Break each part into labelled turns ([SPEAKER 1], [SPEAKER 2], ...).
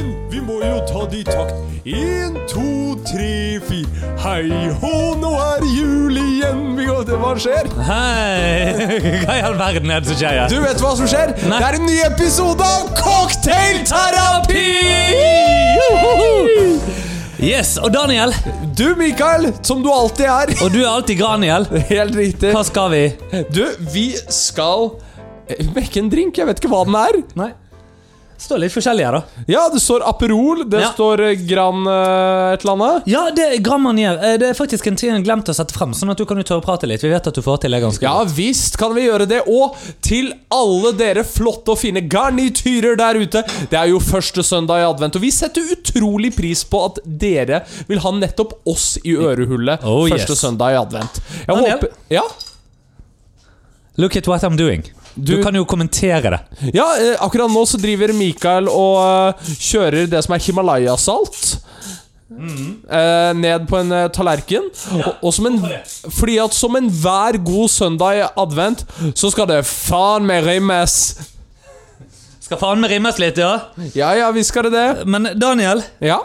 [SPEAKER 1] jo ta det i takt. Én, to, tre, fire. Hei hå, nå er det jul igjen! Vi går til Hva skjer?
[SPEAKER 2] Hei! Hva i all verden er det som skjer her?
[SPEAKER 1] Du vet hva som skjer?
[SPEAKER 2] Nei.
[SPEAKER 1] Det er en ny episode av Cocktailterapi!
[SPEAKER 2] Yes, og Daniel,
[SPEAKER 1] Du, Mikael, som du alltid er.
[SPEAKER 2] og du er alltid Graniel.
[SPEAKER 1] Helt riktig.
[SPEAKER 2] Hva skal vi?
[SPEAKER 1] Du, vi skal eh, mekke en drink. Jeg vet ikke hva den er.
[SPEAKER 2] Nei. Står litt forskjellig her, da.
[SPEAKER 1] Ja, det står Aperol. Det
[SPEAKER 2] Ja.
[SPEAKER 1] står eh, Gran eh, et eller annet.
[SPEAKER 2] Ja, det er Grand Manier. Eh, Det er faktisk en ting jeg glemte å sette frem, sånn at du kan jo tørre å prate litt. Vi vet at du får til det ganske
[SPEAKER 1] Ja visst kan vi gjøre det. Og til alle dere flotte og fine garnityrer der ute. Det er jo første søndag i advent, og vi setter utrolig pris på at dere vil ha nettopp oss i ørehullet
[SPEAKER 2] Oh, yes.
[SPEAKER 1] første søndag i advent. Jeg
[SPEAKER 2] Daniel?
[SPEAKER 1] håper Ja,
[SPEAKER 2] Look at what I'm doing. Du,
[SPEAKER 1] Du-
[SPEAKER 2] kan jo kommentere det.
[SPEAKER 1] ja eh, akkurat nå så driver Mikael og eh, kjører det som er Himalaya-salt.
[SPEAKER 2] Mm.
[SPEAKER 1] Eh, ned på en eh, tallerken. Og, og som en, fordi at som enhver god søndag i advent, så skal det faen meg rimes.
[SPEAKER 2] Skal faen meg rimes litt, ja.
[SPEAKER 1] Ja, ja, visst skal det det.
[SPEAKER 2] Men Daniel,
[SPEAKER 1] Ja.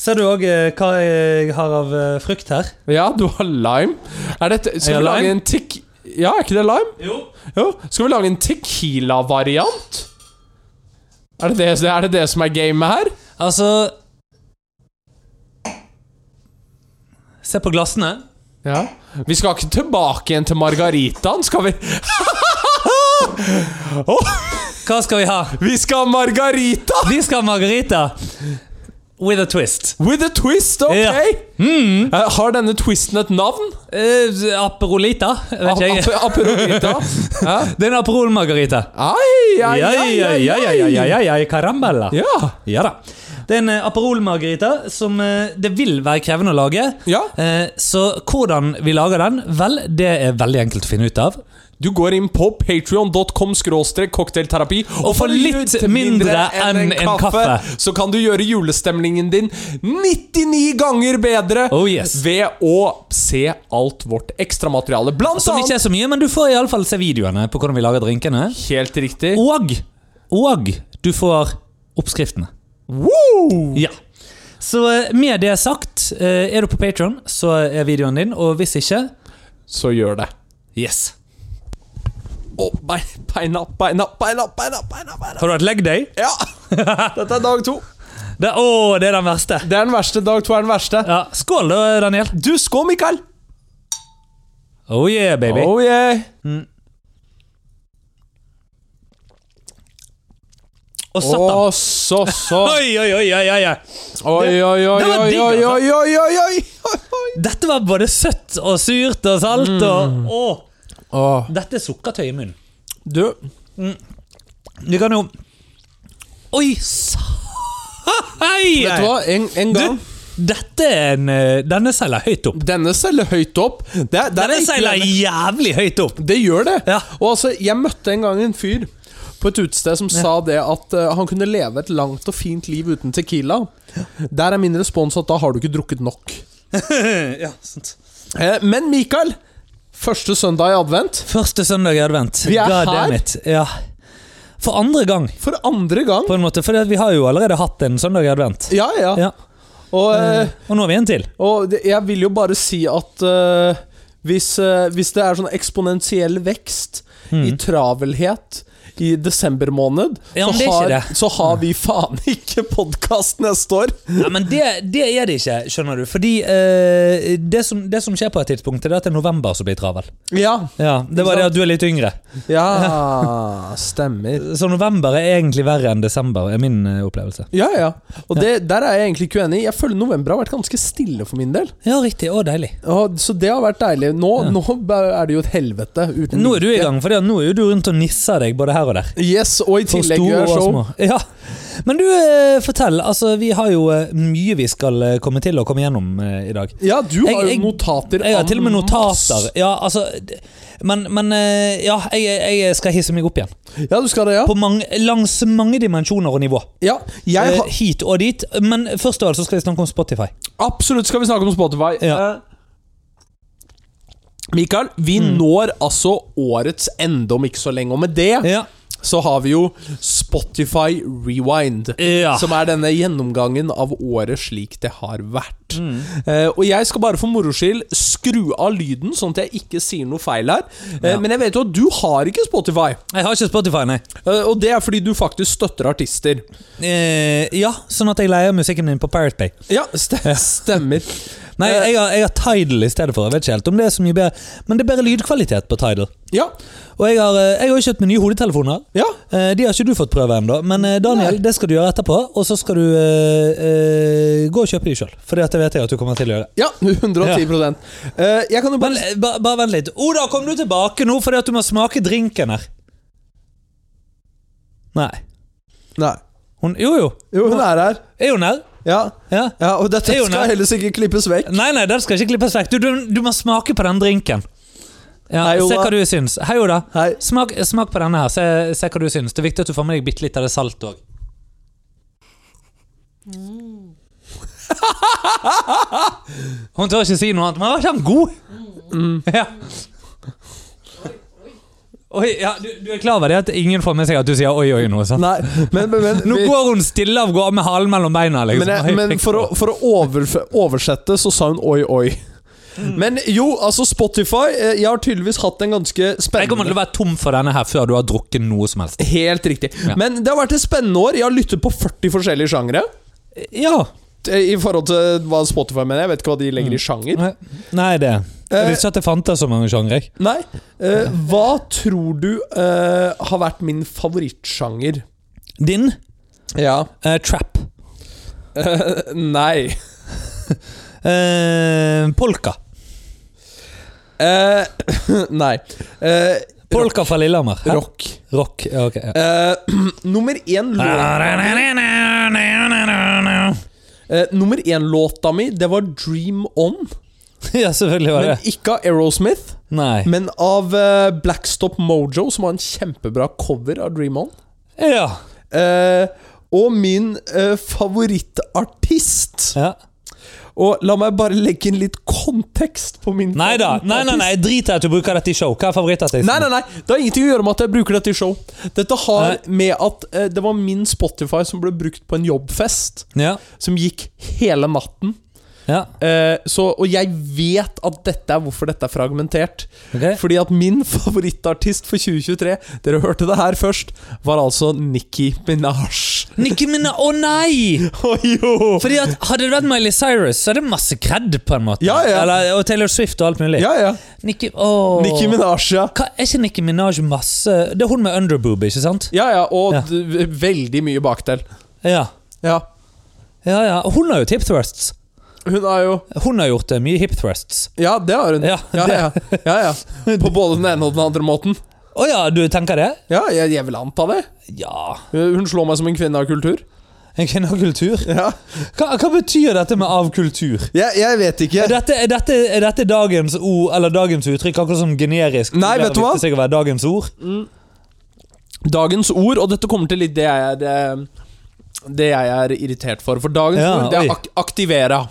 [SPEAKER 2] ser du òg hva jeg har av eh, frukt her?
[SPEAKER 1] ja, du har lime. Er dette Skal
[SPEAKER 2] Er jeg
[SPEAKER 1] vi lage
[SPEAKER 2] lime?
[SPEAKER 1] en tek... Ja, er ikke det lime?
[SPEAKER 2] Jo.
[SPEAKER 1] Jo. Skal vi lage en tequila-variant? Er det det, er det det som er gamet her?
[SPEAKER 2] Altså Se på glassene.
[SPEAKER 1] Ja. Vi skal ikke tilbake igjen til margaritaen, skal vi?
[SPEAKER 2] Hva skal vi ha?
[SPEAKER 1] Vi skal ha margarita!
[SPEAKER 2] Vi skal ha margarita with a twist.
[SPEAKER 1] With a twist, ok?
[SPEAKER 2] Ja. Hmm.
[SPEAKER 1] Eh, Har denne twisten et navn?
[SPEAKER 2] Eh, aperolita? Vet ikke jeg.
[SPEAKER 1] Ape- Aperolita? Hæ?
[SPEAKER 2] Det er en aperolmargarita.
[SPEAKER 1] Ai,
[SPEAKER 2] Ja,
[SPEAKER 1] ai, ai,
[SPEAKER 2] ja, ja, ja, ja, ja, ja, ja, carambella.
[SPEAKER 1] Ja.
[SPEAKER 2] Ja da. Det er en eh, aperolmargarita som eh, det vil være krevende å lage.
[SPEAKER 1] Ja.
[SPEAKER 2] Eh, Så hvordan vi lager den, vel, det er veldig enkelt å finne ut av.
[SPEAKER 1] Du går inn på patreon.com cocktailterapi og for litt mindre enn en kaffe så kan du gjøre julestemningen din 99 ganger bedre
[SPEAKER 2] Oh, yes.
[SPEAKER 1] ved å se alt vårt ekstramateriale. Blant
[SPEAKER 2] Som ikke
[SPEAKER 1] annet
[SPEAKER 2] er så mye, men du får i alle fall se videoene på hvordan vi lager drinkene.
[SPEAKER 1] Helt riktig.
[SPEAKER 2] Og, og du får oppskriftene.
[SPEAKER 1] Wow!
[SPEAKER 2] Ja. Så eh, med det sagt, eh, er du på Patron, så er videoen din, og hvis ikke
[SPEAKER 1] Så gjør det.
[SPEAKER 2] Yes.
[SPEAKER 1] Å, bei- beina, beina, beina, beina, beina, beina.
[SPEAKER 2] Har du hatt leg day?
[SPEAKER 1] Ja! Dette er dag to.
[SPEAKER 2] Det, å, det er den verste.
[SPEAKER 1] Det er den verste. Dag to er den verste.
[SPEAKER 2] Ja, Skål, da, Daniel.
[SPEAKER 1] Du, skål, Mikael!
[SPEAKER 2] Oh yeah, baby.
[SPEAKER 1] Oh yeah.
[SPEAKER 2] Og
[SPEAKER 1] Å,
[SPEAKER 2] satan.
[SPEAKER 1] så, så.
[SPEAKER 2] Oi, oi, oi, oi, oi, oi.
[SPEAKER 1] Oi, oi, oi,
[SPEAKER 2] Det var
[SPEAKER 1] oi,
[SPEAKER 2] digg,
[SPEAKER 1] oi,
[SPEAKER 2] altså.
[SPEAKER 1] oi, oi, oi, oi, oi.
[SPEAKER 2] Dette var både søtt og surt og salt
[SPEAKER 1] Mm.
[SPEAKER 2] og Å!
[SPEAKER 1] Åh.
[SPEAKER 2] Dette er sukkertøy i munnen.
[SPEAKER 1] Du,
[SPEAKER 2] Du kan jo Oi, sa... Hei!
[SPEAKER 1] vet du hva? En, en gang
[SPEAKER 2] Dette er en eh, Denne seiler høyt opp.
[SPEAKER 1] Denne seiler høyt opp. Det, det, er
[SPEAKER 2] Denne
[SPEAKER 1] ikke
[SPEAKER 2] seiler
[SPEAKER 1] denne.
[SPEAKER 2] jævlig høyt opp.
[SPEAKER 1] det gjør det.
[SPEAKER 2] Ja.
[SPEAKER 1] Og altså, jeg møtte en gang en fyr på et utested som sa det at eh, han kunne leve et langt og fint liv uten tequila. Der er min respons at da har du ikke drukket nok.
[SPEAKER 2] ja, sant.
[SPEAKER 1] Eh, men Mikael, første søndag i advent.
[SPEAKER 2] Første søndag i advent.
[SPEAKER 1] Vi er
[SPEAKER 2] God
[SPEAKER 1] her.
[SPEAKER 2] damn it. Ja. For andre gang,
[SPEAKER 1] For andre gang.
[SPEAKER 2] på en måte. For vi har jo allerede hatt en søndag i advent.
[SPEAKER 1] Ja, ja.
[SPEAKER 2] Ja.
[SPEAKER 1] Og, eh,
[SPEAKER 2] Og nå har vi en til.
[SPEAKER 1] og det, jeg vil jo bare si at eh, hvis, eh, hvis det er sånn eksponentiell vekst i travelhet i desember måned,
[SPEAKER 2] Mm. Ja, men
[SPEAKER 1] så,
[SPEAKER 2] det er ikke
[SPEAKER 1] har,
[SPEAKER 2] det.
[SPEAKER 1] så har vi faen ikke podkast neste år.
[SPEAKER 2] Ja, men det, det er det ikke, skjønner du. Fordi eh, det, som, det som skjer på et tidspunkt, er at det er november som blir travel.
[SPEAKER 1] Ja.
[SPEAKER 2] Ja, Det var det at du er litt yngre.
[SPEAKER 1] Ja, stemmer.
[SPEAKER 2] Så november er egentlig verre enn desember, er min eh, opplevelse.
[SPEAKER 1] Ja, ja. Og det, der er jeg egentlig ikke uenig. Jeg føler november har vært ganske stille for min del.
[SPEAKER 2] Ja, riktig. Å, deilig.
[SPEAKER 1] Og, så det har vært deilig. Nå, nå er det jo et helvete uten
[SPEAKER 2] Nå er du i gang, for nå er jo du rundt og nisser deg både her og der.
[SPEAKER 1] Yes, og i
[SPEAKER 2] For
[SPEAKER 1] tillegg
[SPEAKER 2] store
[SPEAKER 1] gjør
[SPEAKER 2] og
[SPEAKER 1] show.
[SPEAKER 2] små. Ja. Men du, eh, fortell. Altså, vi har jo eh, mye vi skal eh, komme til å komme gjennom eh, i dag.
[SPEAKER 1] Ja, du har
[SPEAKER 2] Jeg- jeg-
[SPEAKER 1] jo notater.
[SPEAKER 2] Jeg har
[SPEAKER 1] en
[SPEAKER 2] til og med
[SPEAKER 1] masse.
[SPEAKER 2] notater. Ja, altså d- Men, men eh, ja, jeg, jeg skal hisse meg opp igjen.
[SPEAKER 1] Ja, du skal det, ja.
[SPEAKER 2] På mange, langs mange dimensjoner og nivå.
[SPEAKER 1] ja jeg
[SPEAKER 2] Eh,
[SPEAKER 1] har,
[SPEAKER 2] Hit og dit. Men først av alt så skal vi snakke om Spotify.
[SPEAKER 1] absolutt skal vi snakke om Spotify.
[SPEAKER 2] Ja.
[SPEAKER 1] Eh,
[SPEAKER 2] Mm.
[SPEAKER 1] Mikael, vi når altså årets ende om ikke så lenge, og med det
[SPEAKER 2] Ja.
[SPEAKER 1] så har vi jo Spotify Rewind.
[SPEAKER 2] Ja.
[SPEAKER 1] Som er denne gjennomgangen av året slik det har vært.
[SPEAKER 2] Mm.
[SPEAKER 1] Eh, og jeg skal bare for moro skyld skru av lyden, sånn at jeg ikke sier noe feil her. Eh,
[SPEAKER 2] Ja.
[SPEAKER 1] Men jeg vet jo at du har ikke Spotify,
[SPEAKER 2] Jeg har ikke Spotify, nei.
[SPEAKER 1] Eh, og det er fordi du faktisk støtter artister.
[SPEAKER 2] Eh, ja, sånn at jeg leier musikken din på Pirate Bay.
[SPEAKER 1] Ja, ste stemmer.
[SPEAKER 2] Nei,
[SPEAKER 1] Eh.
[SPEAKER 2] jeg har, jeg har Tidal i stedet for. Jeg vet ikke helt om det er så mye bedre. Men det er bedre lydkvalitet på Tidal.
[SPEAKER 1] Ja.
[SPEAKER 2] Og jeg har, eh, jeg har jo kjøpt meg nye hodetelefoner.
[SPEAKER 1] ja.
[SPEAKER 2] Eh, De har ikke du fått prøve ennå, men eh, Daniel, det skal du gjøre etterpå. Og så skal du eh, eh, gå og kjøpe de sjøl, for det vet jeg at du kommer til å gjøre.
[SPEAKER 1] Ja, 110 Eh, Jeg kan jo
[SPEAKER 2] Men
[SPEAKER 1] bare
[SPEAKER 2] eh, ba- bare vent litt. Oda, kom du tilbake nå fordi at du må smake drinken her? Nei.
[SPEAKER 1] Nei.
[SPEAKER 2] Hun Jo, jo.
[SPEAKER 1] Jo, hun er her.
[SPEAKER 2] Er hun her?
[SPEAKER 1] Ja.
[SPEAKER 2] Ja.
[SPEAKER 1] ja og dette
[SPEAKER 2] Det er jo nei.
[SPEAKER 1] skal helst ikke klippes vekk.
[SPEAKER 2] Nei, nei, den skal ikke klippes vekk. Du, du, du må smake på den drinken. Ja,
[SPEAKER 1] Hei,
[SPEAKER 2] Se
[SPEAKER 1] Oda.
[SPEAKER 2] hva du syns. Hei, Oda.
[SPEAKER 1] Hei.
[SPEAKER 2] Smak, smak på denne her. Se, se hva du syns. Det er viktig at du får med deg bitte litt av det salt òg.
[SPEAKER 1] Mm.
[SPEAKER 2] Hun tør ikke si noe annet, men var ikke han god?
[SPEAKER 1] Mm.
[SPEAKER 2] Ja. Oi, ja, du, du er klar over det at ingen får med seg at du sier oi, oi nå? sant?
[SPEAKER 1] Nei, men, men, men
[SPEAKER 2] Nå
[SPEAKER 1] vi-
[SPEAKER 2] går hun stille av gårde med halen mellom beina. liksom.
[SPEAKER 1] Men, jeg, men for å, for å overf- oversette, så sa hun oi, oi.
[SPEAKER 2] Mm.
[SPEAKER 1] Men jo, altså Spotify eh, Jeg har tydeligvis hatt en ganske
[SPEAKER 2] Jeg kommer til
[SPEAKER 1] spennende
[SPEAKER 2] å være tom for denne her før du har drukket noe som helst.
[SPEAKER 1] Helt riktig.
[SPEAKER 2] Ja.
[SPEAKER 1] Men det har vært et spennende år. Jeg har lyttet på 40 forskjellige sjangere.
[SPEAKER 2] Ja.
[SPEAKER 1] Eh, I forhold til hva Spotify mener. Jeg vet ikke hva de
[SPEAKER 2] Mm.
[SPEAKER 1] legger i sjanger.
[SPEAKER 2] Nei, det Jeg visste ikke at det fantes så mange sjangre. jeg.
[SPEAKER 1] Nei. Eh, hva tror du eh, har vært min favorittsjanger?
[SPEAKER 2] Din
[SPEAKER 1] Ja.
[SPEAKER 2] eh, trap.
[SPEAKER 1] nei.
[SPEAKER 2] Eh, polka.
[SPEAKER 1] Eh, nei. Eh,
[SPEAKER 2] Polka fra Lillehammer. Hæ?
[SPEAKER 1] rock.
[SPEAKER 2] Rock, ja, ok. Ja.
[SPEAKER 1] Eh, nummer én låt Eh, nummer én-låta mi, det var 'Dream On'.
[SPEAKER 2] ja, selvfølgelig var det
[SPEAKER 1] Men ikke av Aerosmith,
[SPEAKER 2] Nei.
[SPEAKER 1] men av eh, Blackstop Mojo, som har en kjempebra cover av 'Dream On'.
[SPEAKER 2] Ja.
[SPEAKER 1] Eh, og min eh, favorittartist.
[SPEAKER 2] ja.
[SPEAKER 1] Og la meg bare legge inn litt kontekst på min
[SPEAKER 2] Nei da. Nei, nei, nei. Drit i at du bruker dette i show. Hva er favorittartisten?
[SPEAKER 1] Nei, nei, nei, Det har ingenting å gjøre med at jeg bruker dette i show. Dette har
[SPEAKER 2] Nei.
[SPEAKER 1] med at eh, det var min Spotify som ble brukt på en jobbfest,
[SPEAKER 2] Ja.
[SPEAKER 1] som gikk hele natten.
[SPEAKER 2] ja.
[SPEAKER 1] Eh, så, og jeg vet at dette er hvorfor dette er fragmentert.
[SPEAKER 2] Ok.
[SPEAKER 1] Fordi at min favorittartist for 2023, dere hørte det her først, var altså Nikki Minaj.
[SPEAKER 2] Nikki Minaj Å nei!
[SPEAKER 1] Å jo!
[SPEAKER 2] Fordi at Hadde det vært Miley Cyrus, så er det masse cred, på en måte.
[SPEAKER 1] Ja, ja.
[SPEAKER 2] Eller, og Taylor Swift og alt mulig.
[SPEAKER 1] Ja, ja.
[SPEAKER 2] Nicki, åh.
[SPEAKER 1] Nicki Minaj, ja.
[SPEAKER 2] Hva, er ikke Nicki Minaj masse Det er hun med underboob, ikke sant?
[SPEAKER 1] Ja, ja, og
[SPEAKER 2] Ja.
[SPEAKER 1] d- veldig mye bakdel.
[SPEAKER 2] Ja.
[SPEAKER 1] Ja.
[SPEAKER 2] ja, ja. Hun har jo hip thrusts.
[SPEAKER 1] Hun er jo
[SPEAKER 2] Hun har gjort eh, mye hip thrusts.
[SPEAKER 1] Ja, det har hun.
[SPEAKER 2] Ja,
[SPEAKER 1] ja, ja. ja, ja. På både den ene og den andre måten.
[SPEAKER 2] Å ja, du tenker det?
[SPEAKER 1] Ja, jeg, jeg vil anta det.
[SPEAKER 2] Ja.
[SPEAKER 1] Hun slår meg som en kvinne av kultur.
[SPEAKER 2] En kvinne av kultur?
[SPEAKER 1] Ja.
[SPEAKER 2] Hva, hva betyr dette med av kultur?
[SPEAKER 1] Jeg, jeg vet ikke.
[SPEAKER 2] Er dette, er, dette, er dette dagens ord, eller dagens uttrykk, akkurat som generisk?
[SPEAKER 1] Nei,
[SPEAKER 2] Det
[SPEAKER 1] vet du hva?
[SPEAKER 2] viste seg å være dagens ord.
[SPEAKER 1] Dagens ord, og dette kommer til litt det jeg er eh, Det jeg er irritert for. For dagens
[SPEAKER 2] Ja,
[SPEAKER 1] ord, det
[SPEAKER 2] oi.
[SPEAKER 1] er ak aktivere.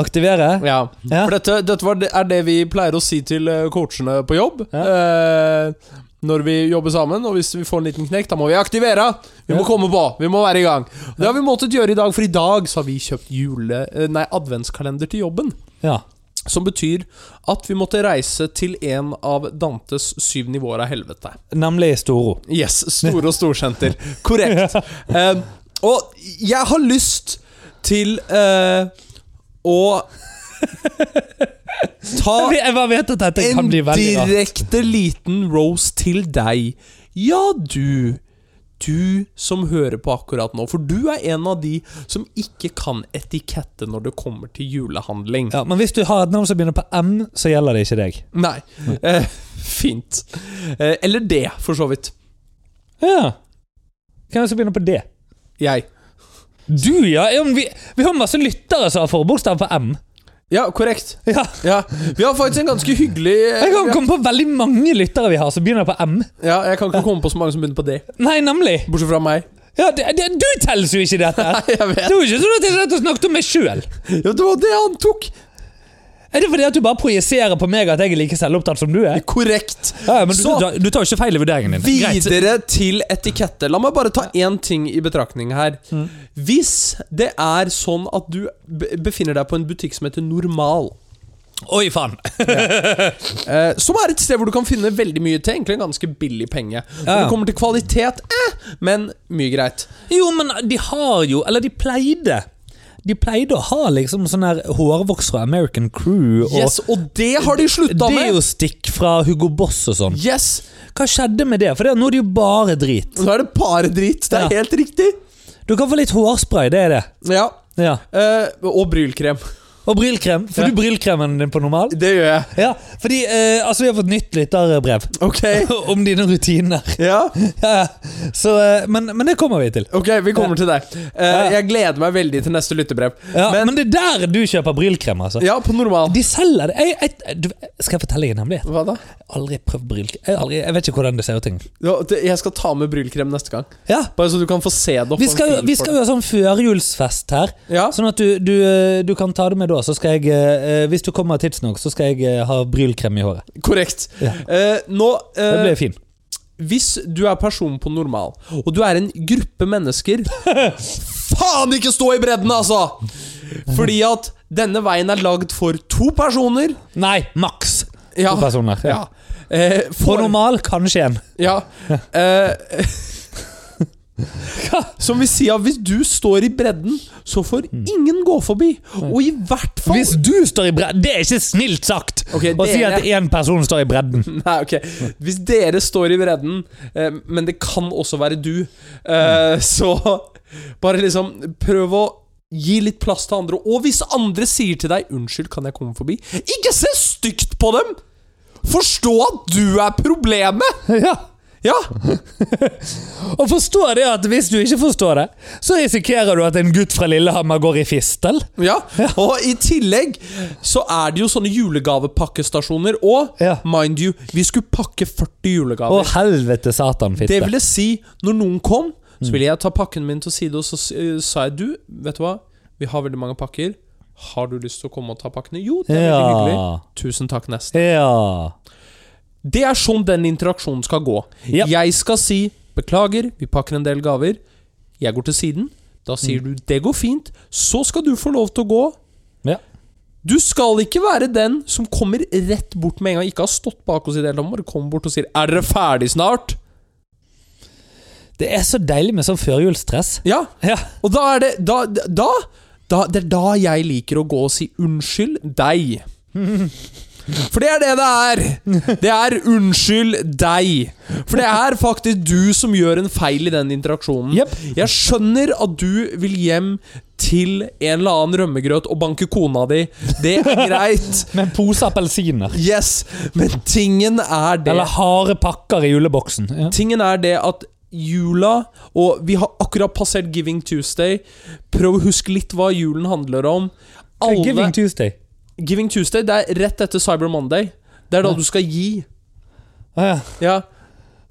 [SPEAKER 2] Aktivere?
[SPEAKER 1] Ja.
[SPEAKER 2] Ja.
[SPEAKER 1] For dette, dette var, det- er det vi pleier å si til eh, coachene på jobb. Eh, når vi jobber sammen, og hvis vi får en liten knekk, da må vi aktivere! Vi må
[SPEAKER 2] Ja.
[SPEAKER 1] komme på! Vi må være i gang. Det har vi måttet gjøre i dag, for i dag så har vi kjøpt jule... eh, Nei, adventskalender til jobben.
[SPEAKER 2] Ja.
[SPEAKER 1] Som betyr at vi måtte reise til en av Dantes syv nivåer av helvete.
[SPEAKER 2] Nemlig Storo.
[SPEAKER 1] Yes, store og storsenter. Korrekt. Eh, og jeg har lyst til eh, å ta
[SPEAKER 2] Jeg vet- jeg bare vet at dette kan
[SPEAKER 1] en
[SPEAKER 2] bli veldig rart.
[SPEAKER 1] direkte liten rose til deg. Ja, du. Du som hører på akkurat nå, for du er en av de som ikke kan etikette når det kommer til julehandling.
[SPEAKER 2] Ja, men hvis du har et navn som begynner på M, så gjelder det ikke deg.
[SPEAKER 1] Nei.
[SPEAKER 2] Mm.
[SPEAKER 1] Eh, fint. Eh, eller det, for så vidt.
[SPEAKER 2] Ja. Hvem er det som begynner på D?
[SPEAKER 1] Jeg.
[SPEAKER 2] Du, ja. ja men vi, vi har masse lyttere som har forbokstav på M.
[SPEAKER 1] Ja, korrekt.
[SPEAKER 2] Ja.
[SPEAKER 1] Ja, Vi har faktisk en ganske hyggelig
[SPEAKER 2] Jeg kan komme på veldig mange lyttere vi har som begynner på M.
[SPEAKER 1] Ja, Jeg kan ikke komme på så mange som begynner på det.
[SPEAKER 2] Nei, nemlig.
[SPEAKER 1] Bortsett fra meg.
[SPEAKER 2] Ja, det, det, du telles jo ikke i dette.
[SPEAKER 1] Nei, jeg
[SPEAKER 2] Det
[SPEAKER 1] vet
[SPEAKER 2] er jo ikke sånn at jeg satt og snakket om meg sjøl.
[SPEAKER 1] ja, Det var det han tok!
[SPEAKER 2] Er det fordi at du bare projiserer på meg at jeg er like selvopptatt som du er?
[SPEAKER 1] Korrekt.
[SPEAKER 2] Ja, men du,
[SPEAKER 1] Så-
[SPEAKER 2] da,
[SPEAKER 3] Du, du tar jo ikke feil i vurderingen din. Greit.
[SPEAKER 1] Videre til etikette. La meg bare ta én ting i betraktning her.
[SPEAKER 2] Mm.
[SPEAKER 1] Hvis det er sånn at du be- befinner deg på en butikk som heter Normal,
[SPEAKER 3] Oi, faen!
[SPEAKER 1] eh, som er et sted hvor du kan finne veldig mye til egentlig en ganske billig penge Når
[SPEAKER 2] Ja.
[SPEAKER 1] det kommer til kvalitet, eh, men mye greit.
[SPEAKER 2] Jo, men de har jo Eller de pleide. De pleide å ha liksom sånn her hårvoks fra American Crew. Og
[SPEAKER 1] Yes, Og det har de slutta
[SPEAKER 2] det er jo
[SPEAKER 1] med!
[SPEAKER 2] stikk fra Hugo Boss og sånn.
[SPEAKER 1] Yes!
[SPEAKER 2] Hva skjedde med det? For det, nå er det jo bare drit.
[SPEAKER 1] Nå er det bare drit. Det er
[SPEAKER 2] Ja.
[SPEAKER 1] helt riktig.
[SPEAKER 2] Du kan få litt hårspray, det er det.
[SPEAKER 1] Ja.
[SPEAKER 2] Ja.
[SPEAKER 1] Eh, og brylkrem.
[SPEAKER 2] Og brylkrem. Får
[SPEAKER 1] Ja.
[SPEAKER 2] du brylkremen din på normal?
[SPEAKER 1] Det gjør jeg.
[SPEAKER 2] Ja, fordi eh, altså, vi har fått nytt lytterbrev
[SPEAKER 1] Ok.
[SPEAKER 2] om dine rutiner.
[SPEAKER 1] Ja.
[SPEAKER 2] Ja, Så, eh, men, men det kommer vi til.
[SPEAKER 1] Ok, vi kommer til deg. Eh, jeg gleder meg veldig til neste lyttebrev.
[SPEAKER 2] Ja, men,
[SPEAKER 1] Men
[SPEAKER 2] det er der du kjøper brylkrem, altså.
[SPEAKER 1] ja, på normal.
[SPEAKER 2] De selger det. Jeg, jeg, du, skal jeg fortelle deg en hemmelighet?
[SPEAKER 1] Hva da?
[SPEAKER 2] Jeg har Aldri prøvd brylkrem. Jeg, har aldri, jeg vet ikke hvordan det ser ut. egentlig.
[SPEAKER 1] Ja, det- Jeg skal ta med brylkrem neste gang.
[SPEAKER 2] Ja,
[SPEAKER 1] Bare så du kan få se det. og
[SPEAKER 2] vi
[SPEAKER 1] få en
[SPEAKER 2] skal,
[SPEAKER 1] feel
[SPEAKER 2] vi
[SPEAKER 1] for det.
[SPEAKER 2] skal jo ha sånn førjulsfest her.
[SPEAKER 1] Ja.
[SPEAKER 2] Sånn at du, du, eh, du kan ta det med da. Så skal jeg, eh, eh, hvis du kommer tidsnok, så skal jeg eh, ha brylkrem i håret.
[SPEAKER 1] Korrekt.
[SPEAKER 2] Ja.
[SPEAKER 1] Eh, nå eh,
[SPEAKER 2] Det blir fint.
[SPEAKER 1] Hvis du er person på normal, og du er en gruppe mennesker Faen ikke stå i bredden, altså! Fordi at denne veien er lagd for to personer.
[SPEAKER 2] Nei, maks
[SPEAKER 1] Ja.
[SPEAKER 2] to personer.
[SPEAKER 1] ja. Eh,
[SPEAKER 2] På
[SPEAKER 1] for,
[SPEAKER 2] normal kanskje en.
[SPEAKER 1] Ja. Eh, som vi sier, hvis du står i bredden, så får ingen gå forbi. Og i hvert fall
[SPEAKER 2] Hvis du står i bredden Det er ikke snilt sagt
[SPEAKER 1] Ok,
[SPEAKER 2] å si
[SPEAKER 1] dere-
[SPEAKER 2] at én person står i bredden.
[SPEAKER 1] Nei, ok. Hvis dere står i bredden, eh, men det kan også være du, eh, så bare liksom prøv å gi litt plass til andre. Og hvis andre sier til deg 'Unnskyld, kan jeg komme forbi?' Ikke se stygt på dem! Forstå at du er problemet!
[SPEAKER 2] Ja.
[SPEAKER 1] Ja!
[SPEAKER 2] Og forstå det at hvis du ikke forstår det, så risikerer du at en gutt fra Lillehammer går i fistel.
[SPEAKER 1] Ja, og i tillegg så er det jo sånne julegavepakkestasjoner. Og
[SPEAKER 2] Ja.
[SPEAKER 1] mind you, vi skulle pakke 40
[SPEAKER 2] Å,
[SPEAKER 1] julegaver.
[SPEAKER 2] helvete satan,
[SPEAKER 1] det
[SPEAKER 2] fitte.
[SPEAKER 1] ville si, når noen kom,
[SPEAKER 2] Mm.
[SPEAKER 1] så ville jeg ta pakken min til side, og så s- eh, sa jeg du, vet du hva, vi har veldig mange pakker. Har du lyst til å komme og ta pakkene? Jo, det er veldig hyggelig.
[SPEAKER 2] Ja.
[SPEAKER 1] Tusen takk, neste.
[SPEAKER 2] ja.
[SPEAKER 1] Det er sånn den interaksjonen skal gå.
[SPEAKER 2] Ja.
[SPEAKER 1] Jeg skal si beklager, vi pakker en del gaver. Jeg går til siden. Da sier
[SPEAKER 2] Mm.
[SPEAKER 1] du det går fint. Så skal du få lov til å gå.
[SPEAKER 2] Ja.
[SPEAKER 1] Du skal ikke være den som kommer rett bort med en gang, ikke har stått bak oss i det hele tatt, bare kommer bort og sier 'Er dere ferdig snart?'
[SPEAKER 2] Det er så deilig med sånn førjulsstress.
[SPEAKER 1] Ja,
[SPEAKER 2] Ja.
[SPEAKER 1] og da er det da, da, da Det er da jeg liker å gå og si unnskyld deg. For det er det det er. Det er unnskyld deg. For det er faktisk du som gjør en feil i den interaksjonen.
[SPEAKER 2] Jep.
[SPEAKER 1] Jeg skjønner at du vil hjem til en eller annen rømmegrøt og banke kona di. Det er greit.
[SPEAKER 2] Med en pose appelsiner.
[SPEAKER 1] Yes, men tingen er det
[SPEAKER 2] Eller harde pakker i juleboksen. Ja.
[SPEAKER 1] Tingen er det at jula Og vi har akkurat passert Giving Tuesday. Prøv å huske litt hva julen handler om. Alle,
[SPEAKER 2] Giving
[SPEAKER 1] Giving,
[SPEAKER 2] Tuesday.
[SPEAKER 1] Tuesday det er rett etter Cyber Monday. Det er da du skal gi.
[SPEAKER 2] Ah, ja.
[SPEAKER 1] Ja.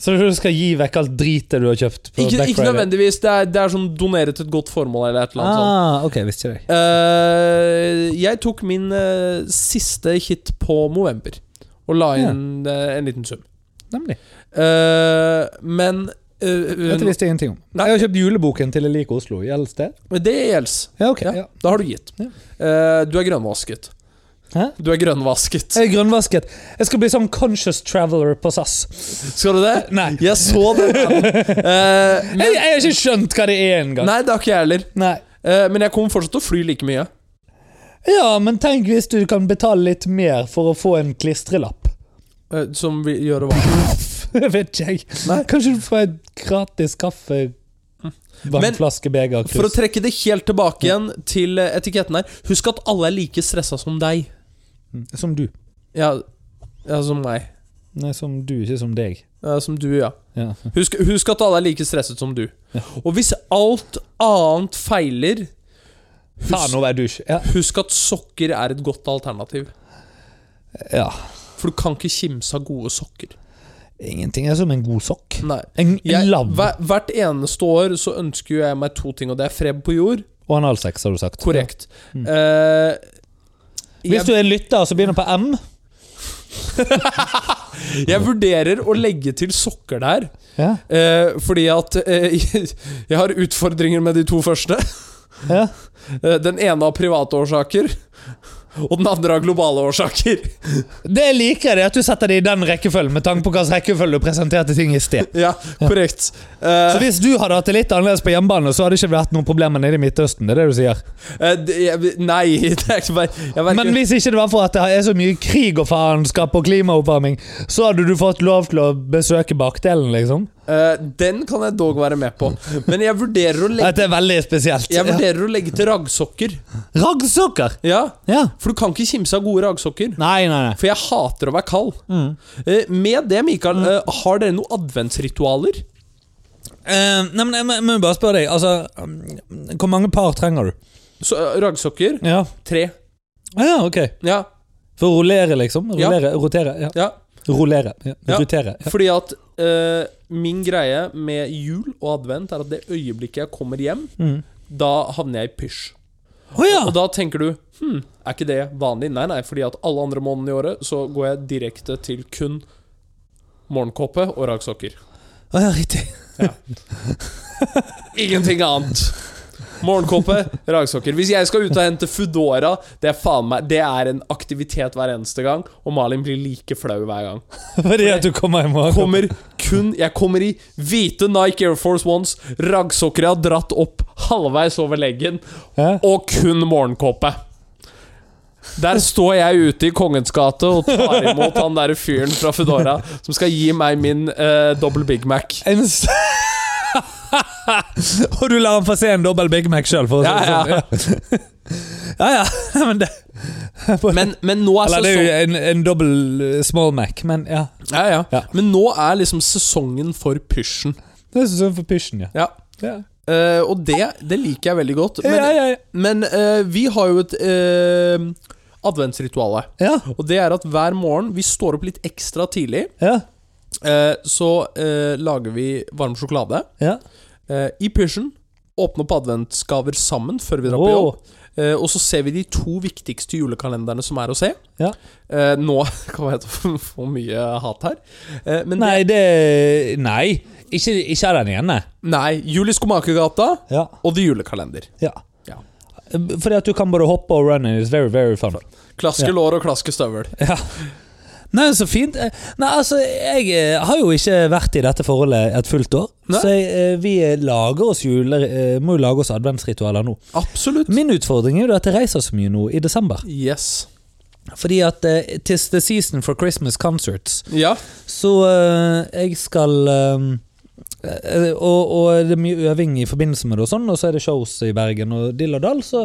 [SPEAKER 2] Så du skal gi vekk alt dritet du har kjøpt? på
[SPEAKER 1] Ikke,
[SPEAKER 2] Black
[SPEAKER 1] ikke
[SPEAKER 2] Friday?
[SPEAKER 1] nødvendigvis. altså. Det er, det er sånn donere til et godt formål eller et eller annet sånt.
[SPEAKER 2] Ah, ok, visste jeg det.
[SPEAKER 1] Eh, jeg tok min eh, siste hit på Movember og la
[SPEAKER 2] Ja.
[SPEAKER 1] inn eh, en liten sum.
[SPEAKER 2] Nemlig.
[SPEAKER 1] Eh, men eh,
[SPEAKER 2] Dette visste jeg ingenting om.
[SPEAKER 1] Nei.
[SPEAKER 2] Jeg har kjøpt juleboken til Jeg liker Oslo. Gjelder det?
[SPEAKER 1] det gjelder.
[SPEAKER 2] Ja, ok.
[SPEAKER 1] Ja,
[SPEAKER 2] Ja.
[SPEAKER 1] Da har du gitt.
[SPEAKER 2] Ja.
[SPEAKER 1] Eh, du er grønnvasket.
[SPEAKER 2] Hæ?
[SPEAKER 1] Du er grønnvasket.
[SPEAKER 2] Jeg er grønnvasket. Jeg skal bli sånn conscious traveler på SAS.
[SPEAKER 1] Skal du det?
[SPEAKER 2] Nei.
[SPEAKER 1] Jeg så det. Eh, men,
[SPEAKER 2] Jeg, jeg har ikke skjønt hva det er engang.
[SPEAKER 1] nei, det har ikke jeg heller.
[SPEAKER 2] Nei.
[SPEAKER 1] Eh, men jeg kommer fortsatt til å fly like mye.
[SPEAKER 2] Ja, men tenk hvis du kan betale litt mer for å få en klistrelapp.
[SPEAKER 1] eh, som vi gjør og hva.
[SPEAKER 2] Det vet ikke jeg.
[SPEAKER 1] Nei. Hm.
[SPEAKER 2] Kanskje du får et gratis kaffe Vannflaske, beger,
[SPEAKER 1] For å
[SPEAKER 2] krus.
[SPEAKER 1] trekke det helt tilbake igjen til eh, etiketten her Husk at alle er like stressa som deg.
[SPEAKER 2] Som du.
[SPEAKER 1] Ja, ja som meg.
[SPEAKER 2] Nei, som du, ikke som deg.
[SPEAKER 1] Ja, som du, ja.
[SPEAKER 2] Ja.
[SPEAKER 1] Husk, husk at alle er like stresset som du. Og hvis alt annet feiler,
[SPEAKER 2] Faen, nå var jeg dusj. Ja.
[SPEAKER 1] husk at sokker er et godt alternativ.
[SPEAKER 2] ja.
[SPEAKER 1] For du kan ikke kimse av gode sokker.
[SPEAKER 2] Ingenting er som en god sokk.
[SPEAKER 1] Nei.
[SPEAKER 2] En, en
[SPEAKER 1] Hm. Jeg,
[SPEAKER 2] lav
[SPEAKER 1] hver, hvert eneste år så ønsker jo jeg meg to ting, og det er fred på jord.
[SPEAKER 2] og analsex, har du sagt.
[SPEAKER 1] Korrekt. Eh,
[SPEAKER 2] Mm. Hvis du er en lytter som begynner på M
[SPEAKER 1] Jeg vurderer å legge til sokker der,
[SPEAKER 2] ja,
[SPEAKER 1] eh, fordi at eh, jeg har utfordringer med de to første.
[SPEAKER 2] ja.
[SPEAKER 1] Eh, Den ene av private årsaker, og den andre av globale årsaker.
[SPEAKER 2] Det jeg liker, det er at du setter det i den rekkefølgen, med tanke på hvilken rekkefølge du presenterte ting i sted.
[SPEAKER 1] Ja, korrekt.
[SPEAKER 2] Så
[SPEAKER 1] Eh,
[SPEAKER 2] hvis du hadde hatt det litt annerledes på hjemmebane, så hadde det ikke vært noen problemer nede i Midtøsten. det er det du sier.
[SPEAKER 1] eh, det- jeg- Nei, det er ikke bare jeg vet
[SPEAKER 2] Men
[SPEAKER 1] ikke-
[SPEAKER 2] hvis ikke det var for at det er så mye krig og faenskap og klimaoppvarming, så hadde du fått lov til å besøke bakdelen, liksom.
[SPEAKER 1] Eh, Den kan jeg dog være med på. Men jeg vurderer å legge,
[SPEAKER 2] Dette er veldig spesielt.
[SPEAKER 1] jeg vurderer å legge til raggsokker.
[SPEAKER 2] Ja. Raggsokker!
[SPEAKER 1] Ja,
[SPEAKER 2] Ja.
[SPEAKER 1] For du kan ikke kimse av gode raggsokker.
[SPEAKER 2] Nei, nei, nei.
[SPEAKER 1] For jeg hater å være kald.
[SPEAKER 2] Mm.
[SPEAKER 1] Eh, Med det, Mikael, eh, har dere noen adventsritualer?
[SPEAKER 2] Eh, nei, men jeg må- jeg må bare spørre deg, altså um, Hvor mange par trenger du?
[SPEAKER 1] Så, eh, raggsokker?
[SPEAKER 2] Ja.
[SPEAKER 1] Tre.
[SPEAKER 2] ja, ok.
[SPEAKER 1] Ja,
[SPEAKER 2] For å rullere, liksom?
[SPEAKER 1] Ja.
[SPEAKER 2] Rullere, Rotere? Ja.
[SPEAKER 1] ja.
[SPEAKER 2] Rullere. Ja.
[SPEAKER 1] Ja.
[SPEAKER 2] Rotere. Ja.
[SPEAKER 1] Fordi at eh, min greie med jul og advent er at det øyeblikket jeg kommer hjem,
[SPEAKER 2] Mm. Ah.
[SPEAKER 1] da havner jeg i pysj.
[SPEAKER 2] Å ja!
[SPEAKER 1] Og da tenker du hm, er ikke det vanlig? Nei, nei, fordi at alle andre månedene i året så går jeg direkte til kun morgenkåpe og ragsokker.
[SPEAKER 2] Å, ja, riktig.
[SPEAKER 1] Ingenting annet. Morgenkåpe, ragsokker. Hvis jeg skal ut og hente Foodora, det er faen meg Det er en aktivitet hver eneste gang, og Malin blir like flau hver gang.
[SPEAKER 2] Fordi at du kommer i morgen.
[SPEAKER 1] kommer kun Jeg kommer i hvite Nike Air Force Ones, raggsokker jeg har dratt opp halvveis over leggen,
[SPEAKER 2] Hæ?
[SPEAKER 1] og kun morgenkåpe. Der står jeg ute i Kongens gate og tar imot han derre fyren fra Foodora som skal gi meg min uh, dobbel Big Mac.
[SPEAKER 2] En s- Og du lar han få se en dobbel Big Mac sjøl, for å si det
[SPEAKER 1] Ja, ja.
[SPEAKER 2] sånn. Ja, ja. Nei, Men
[SPEAKER 1] Men,
[SPEAKER 2] det,
[SPEAKER 1] altså, men nå er
[SPEAKER 2] eller det er
[SPEAKER 1] sesongen
[SPEAKER 2] jo en, en dobbel eh, small Mac, men ja.
[SPEAKER 1] ja, ja.
[SPEAKER 2] Ja.
[SPEAKER 1] Men nå er liksom sesongen for pysjen.
[SPEAKER 2] Det er sånn for pysjen, ja.
[SPEAKER 1] Ja.
[SPEAKER 2] Ja,
[SPEAKER 1] Eh, og det, det liker jeg veldig godt. Men,
[SPEAKER 2] ja, ja. ja.
[SPEAKER 1] men eh, vi har jo et uh, adventsrituale.
[SPEAKER 2] ja.
[SPEAKER 1] Og det er at hver morgen vi står opp litt ekstra tidlig,
[SPEAKER 2] ja.
[SPEAKER 1] eh, så eh, lager vi varm sjokolade
[SPEAKER 2] ja.
[SPEAKER 1] eh, i pysjen. Åpner opp adventsgaver sammen før vi drar på jobb.
[SPEAKER 2] Wow.
[SPEAKER 1] Eh, og så ser vi de to viktigste julekalenderne som er å se.
[SPEAKER 2] Ja.
[SPEAKER 1] Eh, nå kan jeg ta for mye hat her. Eh, men
[SPEAKER 2] Nei, det Nei. Ikke, ikke av den ene.
[SPEAKER 1] Det, nei. Jul i Skomakergata
[SPEAKER 2] Ja.
[SPEAKER 1] og The Julekalender.
[SPEAKER 2] ja.
[SPEAKER 1] Ja.
[SPEAKER 2] Fordi at du kan både hoppe og runne. It's very, very fun.
[SPEAKER 1] Klaske
[SPEAKER 2] Ja.
[SPEAKER 1] lår og klaske støvel.
[SPEAKER 2] Ja. Nei, så fint. Eh, Nei, altså, jeg eh, har jo ikke vært i dette forholdet et fullt år.
[SPEAKER 1] Nei.
[SPEAKER 2] Så jeg, eh, vi eh, lager oss juler, eh, må jo lage oss adventsritualer nå.
[SPEAKER 1] Absolutt.
[SPEAKER 2] Min utfordring er jo at jeg reiser så mye nå i desember.
[SPEAKER 1] Yes.
[SPEAKER 2] Fordi at eh, tis the season for Christmas concerts.
[SPEAKER 1] Ja.
[SPEAKER 2] Så eh, jeg skal eh, eh, og, og det er mye øving i forbindelse med det, og sånn Og så er det shows i Bergen og dill og dall. Så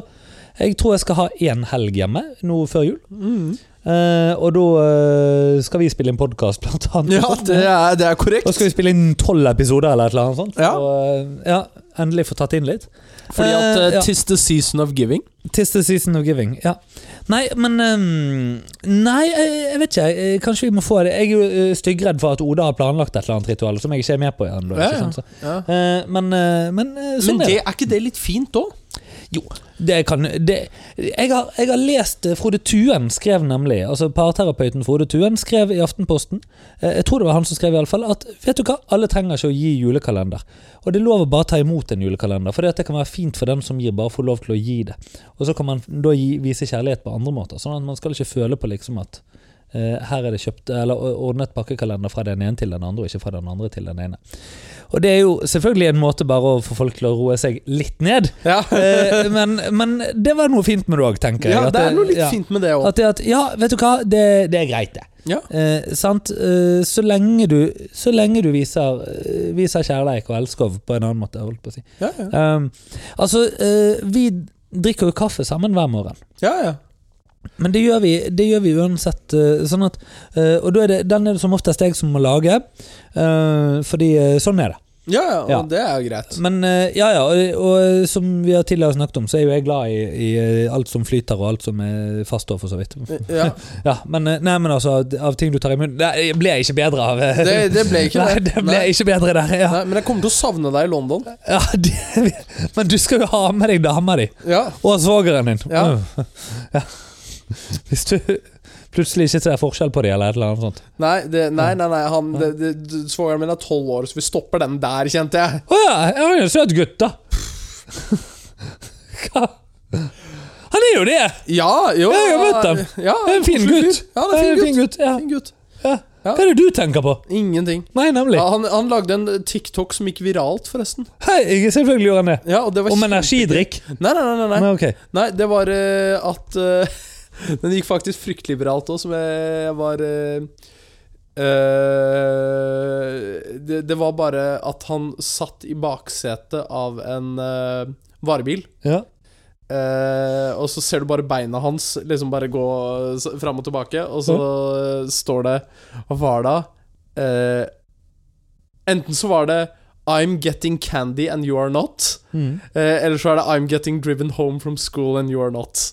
[SPEAKER 2] jeg tror jeg skal ha én helg hjemme nå før jul.
[SPEAKER 1] Mm.
[SPEAKER 2] Eh, og da eh, skal vi spille inn podkast, blant annet.
[SPEAKER 1] ja, det er, det er korrekt.
[SPEAKER 2] Da skal vi spille inn tolv episoder eller et eller annet sånt.
[SPEAKER 1] Ja.
[SPEAKER 2] Og, eh, ja, endelig få tatt inn litt.
[SPEAKER 1] Fordi at
[SPEAKER 2] Eh,
[SPEAKER 1] eh,
[SPEAKER 2] ja.
[SPEAKER 1] tis the season of giving.
[SPEAKER 2] Tis the season of giving. Ja. Nei, men ehm, Nei, jeg, jeg vet ikke. jeg- jeg- Kanskje vi må få det. Jeg er jo eh, styggredd for at Oda har planlagt et eller annet ritual som jeg ikke er med på
[SPEAKER 1] Ja,
[SPEAKER 2] ennå. ikke
[SPEAKER 1] ja.
[SPEAKER 2] sant, så- Eh, Men, eh, men eh, sånn
[SPEAKER 1] Men
[SPEAKER 2] er
[SPEAKER 1] det,
[SPEAKER 2] det.
[SPEAKER 1] er ikke det litt fint òg?
[SPEAKER 2] Jo, det kan det, jeg, har, jeg har lest eh, Frode Tuen skrev nemlig, altså parterapeuten Frode Tuen skrev i Aftenposten, eh, jeg tror det var han som skrev iallfall, at vet du hva, alle trenger ikke å gi julekalender. Og det er lov å bare ta imot en julekalender, for det kan være fint for den som gir, bare få lov til å gi det. Og så kan man da gi, vise kjærlighet på andre måter, sånn at man skal ikke føle på liksom at eh, her er det kjøpt, eller ordnet pakkekalender fra den ene til den andre, og ikke fra den andre til den ene. Og det er jo selvfølgelig en måte bare å få folk til å roe seg litt ned.
[SPEAKER 1] Ja.
[SPEAKER 2] Eh, men, men det var noe fint med det òg, tenker jeg.
[SPEAKER 1] Ja,
[SPEAKER 2] At
[SPEAKER 1] det er noe litt
[SPEAKER 2] ja.
[SPEAKER 1] fint med det òg.
[SPEAKER 2] At det at, ja, vet du hva, det, det er greit, det.
[SPEAKER 1] Ja.
[SPEAKER 2] Eh, sant? Eh, så lenge du, så lenge du viser, eh, viser kjærleik og elskov på en annen måte, holdt på å si.
[SPEAKER 1] Ja, ja.
[SPEAKER 2] Um, altså, eh, vi drikker jo kaffe sammen hver morgen.
[SPEAKER 1] ja, ja.
[SPEAKER 2] Men det gjør vi, det gjør vi uansett. eh, Sånn at, eh, og da er det, den er det som oftest jeg som må lage, eh, fordi eh, sånn er det.
[SPEAKER 1] ja, ja, og
[SPEAKER 2] Ja.
[SPEAKER 1] det er jo greit.
[SPEAKER 2] Men eh, ja, ja, og, og som vi har tidligere snakket om, så er jo jeg glad i, i eh, alt som flyter, og alt som er fastår, for så vidt.
[SPEAKER 1] Ja,
[SPEAKER 2] Ja, men, eh, nei, men altså, av ting du tar i munnen Det ble jeg ikke bedre av. eh.
[SPEAKER 1] det, det ble ikke
[SPEAKER 2] Nei,
[SPEAKER 1] det.
[SPEAKER 2] det ble jeg ikke bedre der. Ja.
[SPEAKER 1] Nei, men jeg kommer til å savne deg i London.
[SPEAKER 2] Ja, det, men du skal jo ha med deg dama di.
[SPEAKER 1] Ja,
[SPEAKER 2] Og svogeren din.
[SPEAKER 1] Ja.
[SPEAKER 2] Mm. Ja. Hvis du plutselig ikke ser forskjell på dem, eller et eller annet sånt.
[SPEAKER 1] Nei, det, nei, nei, nei han, det, det, det- svogeren min er tolv år, så vi stopper den der, kjente jeg.
[SPEAKER 2] Å ja, han er en søt gutt, da. Hva? Han er jo det!
[SPEAKER 1] Ja, jo.
[SPEAKER 2] Ja, jeg har møtt dem.
[SPEAKER 1] Ja,
[SPEAKER 2] Han er en fin
[SPEAKER 1] absolutt
[SPEAKER 2] gutt.
[SPEAKER 1] fyr. Ja, han er en fin gutt.
[SPEAKER 2] ja.
[SPEAKER 1] Fin gutt.
[SPEAKER 2] Ja.
[SPEAKER 1] Ja.
[SPEAKER 2] Hva er det du tenker på?
[SPEAKER 1] Ingenting.
[SPEAKER 2] Nei, nemlig.
[SPEAKER 1] Ja, han, han lagde en TikTok som gikk viralt, forresten.
[SPEAKER 2] Hei, jeg selvfølgelig gjør han det.
[SPEAKER 1] Ja, og det var
[SPEAKER 2] Om
[SPEAKER 1] kjempe-
[SPEAKER 2] energidrikk.
[SPEAKER 1] Nei, nei, nei. nei,
[SPEAKER 2] Nei,
[SPEAKER 1] nei.
[SPEAKER 2] ok.
[SPEAKER 1] nei det var eh, at eh, Den gikk faktisk fryktelig viralt òg, som jeg, jeg var eh, eh, det, det var bare at han satt i baksetet av en eh, varebil.
[SPEAKER 2] Ja.
[SPEAKER 1] Eh, og så ser du bare beina hans liksom bare gå s- fram og tilbake, og så eh, står det Hva var det? Eh, enten så var det I'm getting candy and you are not.
[SPEAKER 2] Mm.
[SPEAKER 1] Eh, eller så er det I'm getting driven home from school and you are not.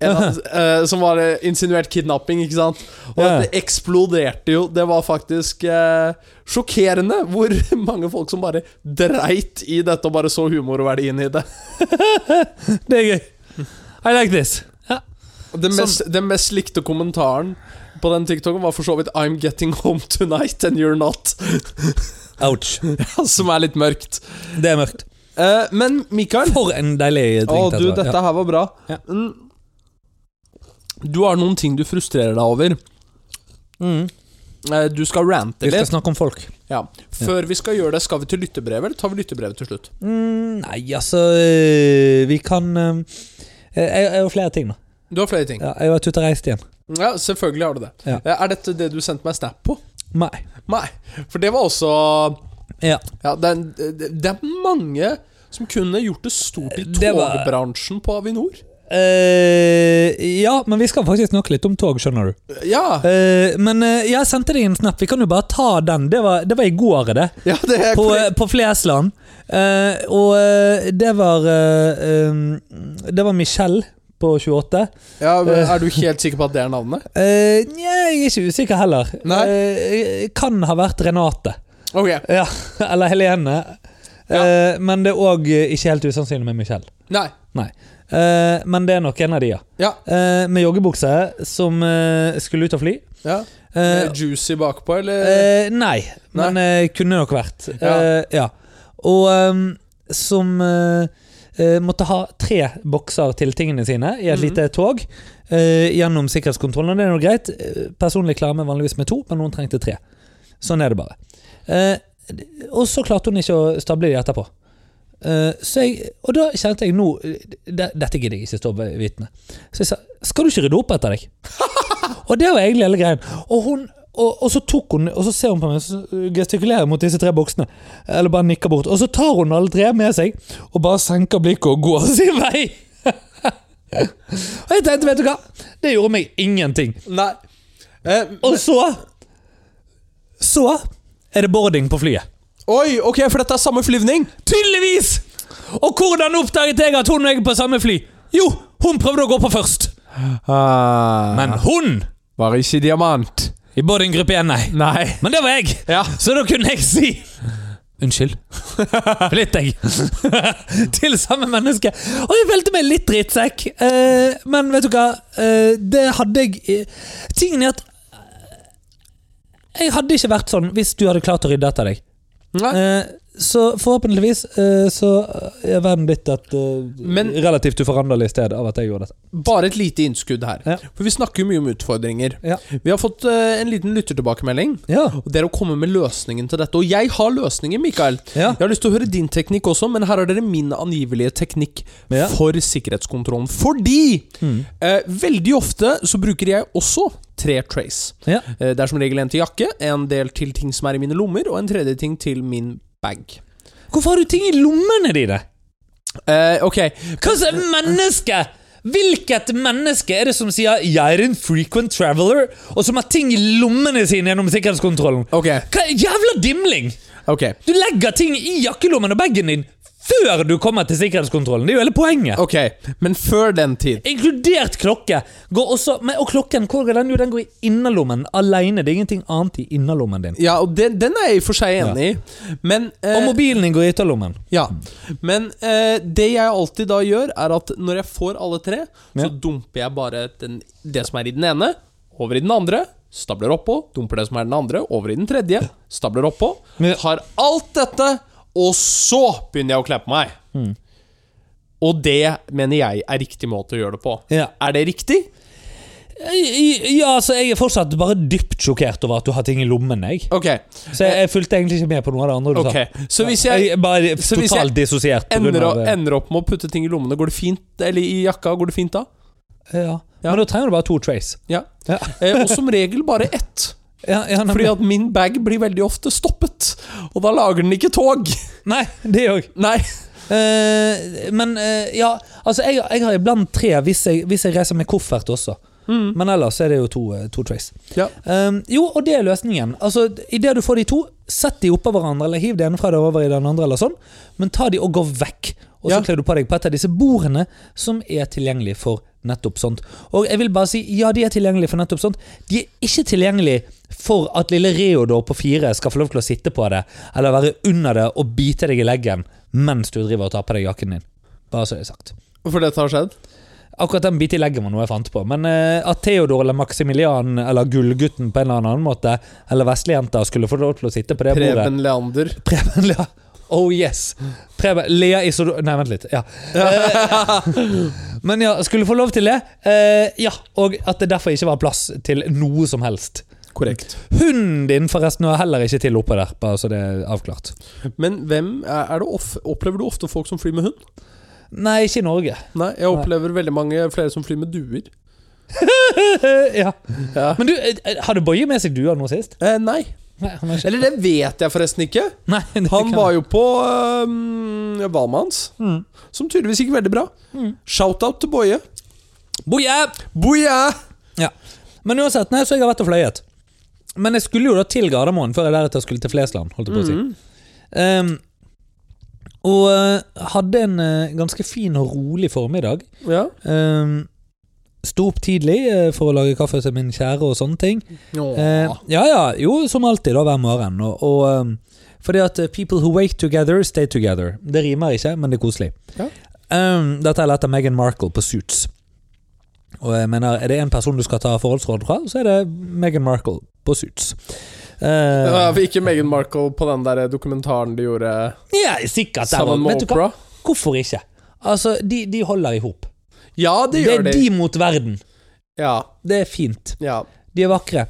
[SPEAKER 1] En, annen, eh, som var eh, insinuert kidnapping, ikke sant? Og
[SPEAKER 2] Ja.
[SPEAKER 1] det eksploderte jo. Det var faktisk eh, sjokkerende hvor mange folk som bare dreit i dette og bare så humorverdien i det.
[SPEAKER 2] Det er gøy. I like this. Ja.
[SPEAKER 1] Den
[SPEAKER 2] Som-
[SPEAKER 1] mest, den mest likte kommentaren på den TikToken var for så vidt I'm getting home tonight and you're not.
[SPEAKER 2] Ouch.
[SPEAKER 1] Som er litt mørkt.
[SPEAKER 2] Det er mørkt.
[SPEAKER 1] Eh, men Mikael
[SPEAKER 2] For en deilig
[SPEAKER 1] Å,
[SPEAKER 2] drink.
[SPEAKER 1] du, dette her var bra.
[SPEAKER 2] Ja.
[SPEAKER 1] Mm. Du har noen ting du frustrerer deg over.
[SPEAKER 2] Mm.
[SPEAKER 1] Eh, Du skal rante
[SPEAKER 2] Vi skal
[SPEAKER 1] litt.
[SPEAKER 2] snakke om folk.
[SPEAKER 1] Ja. Før vi skal gjøre det, skal vi til lyttebrevet, eller tar vi lyttebrevet til slutt?
[SPEAKER 2] Mm, nei, altså øh, Vi kan øh, Jeg jeg har flere ting, da.
[SPEAKER 1] Du har flere ting.
[SPEAKER 2] Ja, jeg var ute og reiste igjen.
[SPEAKER 1] Ja, selvfølgelig har du det.
[SPEAKER 2] Ja.
[SPEAKER 1] Eh, Er dette det du sendte meg snap på?
[SPEAKER 2] Nei.
[SPEAKER 1] Nei. For det var også
[SPEAKER 2] Ja.
[SPEAKER 1] Ja, det er, det det er mange som kunne gjort Eh, det stort i
[SPEAKER 2] Det var-
[SPEAKER 1] togbransjen på Avinor.
[SPEAKER 2] Eh, ja, men vi skal faktisk snakke litt om tog, skjønner du.
[SPEAKER 1] Ja,
[SPEAKER 2] Eh, men eh, jeg sendte deg en snap. Vi kan jo bare ta den. Det var, det var i går, det.
[SPEAKER 1] ja det er
[SPEAKER 2] På,
[SPEAKER 1] korrekt.
[SPEAKER 2] eh, på Flesland. Eh, og eh, det var eh, um, Det var Michelle på 28.
[SPEAKER 1] ja, men Er du helt sikker på at det er navnet?
[SPEAKER 2] Eh, Nja, jeg er ikke usikker heller.
[SPEAKER 1] Nei.
[SPEAKER 2] Eh, kan ha vært Renate.
[SPEAKER 1] Ok,
[SPEAKER 2] Ja, Eller Helene.
[SPEAKER 1] Ja.
[SPEAKER 2] Eh, men det er òg ikke helt usannsynlig med Michelle.
[SPEAKER 1] Nei.
[SPEAKER 2] Nei. Eh, men det er nok en av de, ja.
[SPEAKER 1] Ja.
[SPEAKER 2] Eh, med joggebukse, som eh, skulle ut og fly.
[SPEAKER 1] ja.
[SPEAKER 2] Eh,
[SPEAKER 1] Med Juicy bakpå, eller?
[SPEAKER 2] eh, nei, men eh, kunne nok vært.
[SPEAKER 1] Ja.
[SPEAKER 2] Eh, ja. Og ehm, som eh, eh, måtte ha tre bokser til tingene sine i et
[SPEAKER 1] Mhm.
[SPEAKER 2] lite tog. eh, gjennom sikkerhetskontrollen, og det er noe greit. Eh, Personlig klarer vi vanligvis med to, men noen trengte tre. Sånn er det bare. Eh, og så klarte hun ikke å stable de etterpå. Eh, så jeg, og da kjente jeg nå det- Dette gidder jeg ikke stå ved vitne. Så jeg sa Skal du ikke rydde opp etter deg? og det var egentlig hele greien. Og, hun, og, og så tok hun Og så ser hun på meg og så gestikulerer mot disse tre boksene. Eller bare nikker bort. Og så tar hun alle tre med seg og bare senker blikket og går sin vei. og jeg tenkte, vet du hva? Det gjorde meg ingenting.
[SPEAKER 1] Nei. Eh,
[SPEAKER 2] Og så Så er det boarding på flyet.
[SPEAKER 1] oi, ok, for dette er samme flyvning?
[SPEAKER 2] Tydeligvis! Og hvordan oppdaget jeg at hun og jeg er på samme fly? Jo, hun prøvde å gå på først. Men hun
[SPEAKER 1] Ah, var ikke diamant.
[SPEAKER 2] i boardinggruppe 1, nei.
[SPEAKER 1] Nei.
[SPEAKER 2] Men det var jeg,
[SPEAKER 1] Ja.
[SPEAKER 2] så da kunne jeg si Unnskyld. Litt, jeg. Til samme menneske. Og jeg følte meg litt drittsekk. Eh, men vet du hva? Eh, det hadde jeg Tingen er at eh, Jeg hadde ikke vært sånn hvis du hadde klart å rydde etter deg.
[SPEAKER 1] Nei.
[SPEAKER 2] Eh, så forhåpentligvis eh, så er verden blitt et eh,
[SPEAKER 1] Men-
[SPEAKER 2] relativt uforanderlig sted av at jeg gjorde dette.
[SPEAKER 1] Bare et lite innskudd her.
[SPEAKER 2] Ja.
[SPEAKER 1] For vi snakker jo mye om utfordringer.
[SPEAKER 2] Ja.
[SPEAKER 1] Vi har fått eh, en liten lyttertilbakemelding.
[SPEAKER 2] Ja.
[SPEAKER 1] Og Det er å komme med løsningen til dette. Og jeg har løsningen, Mikael.
[SPEAKER 2] Ja.
[SPEAKER 1] Jeg har lyst til å høre din teknikk også, men her har dere min angivelige teknikk
[SPEAKER 2] Ja. Mm.
[SPEAKER 1] for sikkerhetskontrollen. Fordi eh, veldig ofte så bruker jeg også tre trace.
[SPEAKER 2] Ja.
[SPEAKER 1] Eh, det er som regel en til jakke, en del til ting som er i mine lommer, og en tredje ting til min bag.
[SPEAKER 2] Hvorfor har du ting i lommene dine?
[SPEAKER 1] Eh, ok,
[SPEAKER 2] Hva slags menneske? Hvilket menneske er det som sier 'jeg er en frequent traveler', og som har ting i lommene sine gjennom sikkerhetskontrollen?
[SPEAKER 1] ok,
[SPEAKER 2] Hva Jævla dimling!
[SPEAKER 1] ok.
[SPEAKER 2] Du legger ting i jakkelommen og bagen din før du kommer til sikkerhetskontrollen. Det er jo hele poenget.
[SPEAKER 1] Ok, men før den tid
[SPEAKER 2] Inkludert klokke! Går også, men, og klokken hvor går den? Jo, den går i innerlommen alene. Det er ingenting annet i innerlommen din.
[SPEAKER 1] Ja, og den, den er jeg i og for seg enig i, men
[SPEAKER 2] Og
[SPEAKER 1] eh,
[SPEAKER 2] mobilen din går i ytterlommen.
[SPEAKER 1] Ja.
[SPEAKER 2] Mm.
[SPEAKER 1] Men eh, det jeg alltid da gjør, er at når jeg får alle tre,
[SPEAKER 2] Ja.
[SPEAKER 1] så dumper jeg bare den, det som er i den ene, over i den andre. Stabler oppå, dumper det som er den andre, over i den tredje. Stabler oppå.
[SPEAKER 2] Men-
[SPEAKER 1] Tar alt dette, og så begynner jeg å kle på meg.
[SPEAKER 2] Mm.
[SPEAKER 1] Og det mener jeg er riktig måte å gjøre det på.
[SPEAKER 2] Ja.
[SPEAKER 1] Er det riktig?
[SPEAKER 2] I- i- ja, så jeg er fortsatt bare dypt sjokkert over at du har ting i lommen. Jeg.
[SPEAKER 1] Ok.
[SPEAKER 2] Så jeg, jeg fulgte egentlig ikke med på noe av det andre du
[SPEAKER 1] ok Så hvis
[SPEAKER 2] sa.
[SPEAKER 1] jeg
[SPEAKER 2] Jeg er bare
[SPEAKER 1] så hvis
[SPEAKER 2] totalt dissosiert. på grunn
[SPEAKER 1] ender,
[SPEAKER 2] av
[SPEAKER 1] opp-
[SPEAKER 2] det.
[SPEAKER 1] ender opp med å putte ting i lommene, går det fint? Eller i jakka, går det fint da?
[SPEAKER 2] ja. Men da trenger du bare to trays.
[SPEAKER 1] Ja.
[SPEAKER 2] Ja.
[SPEAKER 1] Eh, og som regel bare ett.
[SPEAKER 2] Ja, ja, nei,
[SPEAKER 1] Fordi at min bag blir veldig ofte stoppet, og da lager den ikke tog.
[SPEAKER 2] Nei, det òg.
[SPEAKER 1] Nei.
[SPEAKER 2] Eh, men eh, ja, altså jeg, jeg har iblant tre hvis jeg, hvis jeg reiser med koffert også. Men ellers er det jo to, eh, to trays.
[SPEAKER 1] Ja.
[SPEAKER 2] Um, jo, og det er løsningen. Altså, Idet du får de to, sett de oppå hverandre, eller hiv det ene fra deg over i den andre, eller sånn, men ta de og gå vekk. Og så
[SPEAKER 1] Ja.
[SPEAKER 2] kler du på deg på et av disse bordene som er tilgjengelig for nettopp sånt. Og jeg vil bare si, ja, de er tilgjengelige for nettopp sånt. De er ikke tilgjengelige for at lille Reodor på fire skal få lov til å sitte på det, eller være under det og bite deg i leggen mens du driver og tar på deg jakken din. Bare så det er sagt.
[SPEAKER 1] For dette har skjedd?
[SPEAKER 2] Akkurat den bit i leggen var noe jeg fant på. Men eh, at Theodor eller Maximilian eller Gullgutten på en eller annen måte, eller Veslejenta, skulle få lov til å sitte på det bordet
[SPEAKER 1] Preben Leander.
[SPEAKER 2] Preben Lea. Oh yes. Preben Lea Isodor Nei, vent litt. Ja. Eh, men ja, skulle få lov til det. Eh, ja, Og at det derfor ikke var plass til noe som helst.
[SPEAKER 1] Korrekt.
[SPEAKER 2] Hunden din forresten hører heller ikke til oppå der, bare så det er avklart.
[SPEAKER 1] Men hvem er, er det of, opplever du ofte folk som flyr med hund?
[SPEAKER 2] Nei, ikke i Norge.
[SPEAKER 1] Nei, jeg opplever veldig mange flere som flyr med duer.
[SPEAKER 2] ja.
[SPEAKER 1] Ja.
[SPEAKER 2] Men du, eh, har du Boje med seg dua nå sist?
[SPEAKER 1] Eh, nei.
[SPEAKER 2] Nei, han har ikke.
[SPEAKER 1] Eller det vet jeg forresten ikke.
[SPEAKER 2] Nei, det
[SPEAKER 1] Han
[SPEAKER 2] kan-
[SPEAKER 1] var jo på um, Valmanns,
[SPEAKER 2] Mm.
[SPEAKER 1] som tydeligvis gikk veldig bra. Shout-out til Boje.
[SPEAKER 2] Boje!
[SPEAKER 1] Boje!
[SPEAKER 2] Ja. Men uansett, nei, så jeg har vært og fløyet. Men jeg skulle jo da til Gardermoen før jeg deretter skulle til Flesland, holdt jeg på å si. Ehm, og eh, hadde en eh, ganske fin og rolig formiddag.
[SPEAKER 1] Ja.
[SPEAKER 2] Um, Sto opp tidlig eh, for å lage kaffe til min kjære og sånne ting. Eh, ja ja, jo, som alltid, da, hver morgen. Og, og ehm, fordi at eh, 'people who wake together, stay together'. Det rimer ikke, men det er koselig.
[SPEAKER 1] Ja.
[SPEAKER 2] Ehm, dette er lett av Meghan Markle på Suits. Og jeg mener, Er det en person du skal ta forholdsråd fra, så er det Meghan Markle på Suits.
[SPEAKER 1] Det
[SPEAKER 2] Eh,
[SPEAKER 1] var ikke Meghan Markle på den der dokumentaren de gjorde
[SPEAKER 2] ja, sikkert. der
[SPEAKER 1] sammen
[SPEAKER 2] var-
[SPEAKER 1] med
[SPEAKER 2] Vet du hva?
[SPEAKER 1] Oprah?
[SPEAKER 2] Hvorfor ikke? Altså, De, de holder i hop.
[SPEAKER 1] Ja, det
[SPEAKER 2] Det
[SPEAKER 1] gjør
[SPEAKER 2] er
[SPEAKER 1] de.
[SPEAKER 2] de mot verden.
[SPEAKER 1] Ja,
[SPEAKER 2] Det er fint.
[SPEAKER 1] ja.
[SPEAKER 2] De er vakre.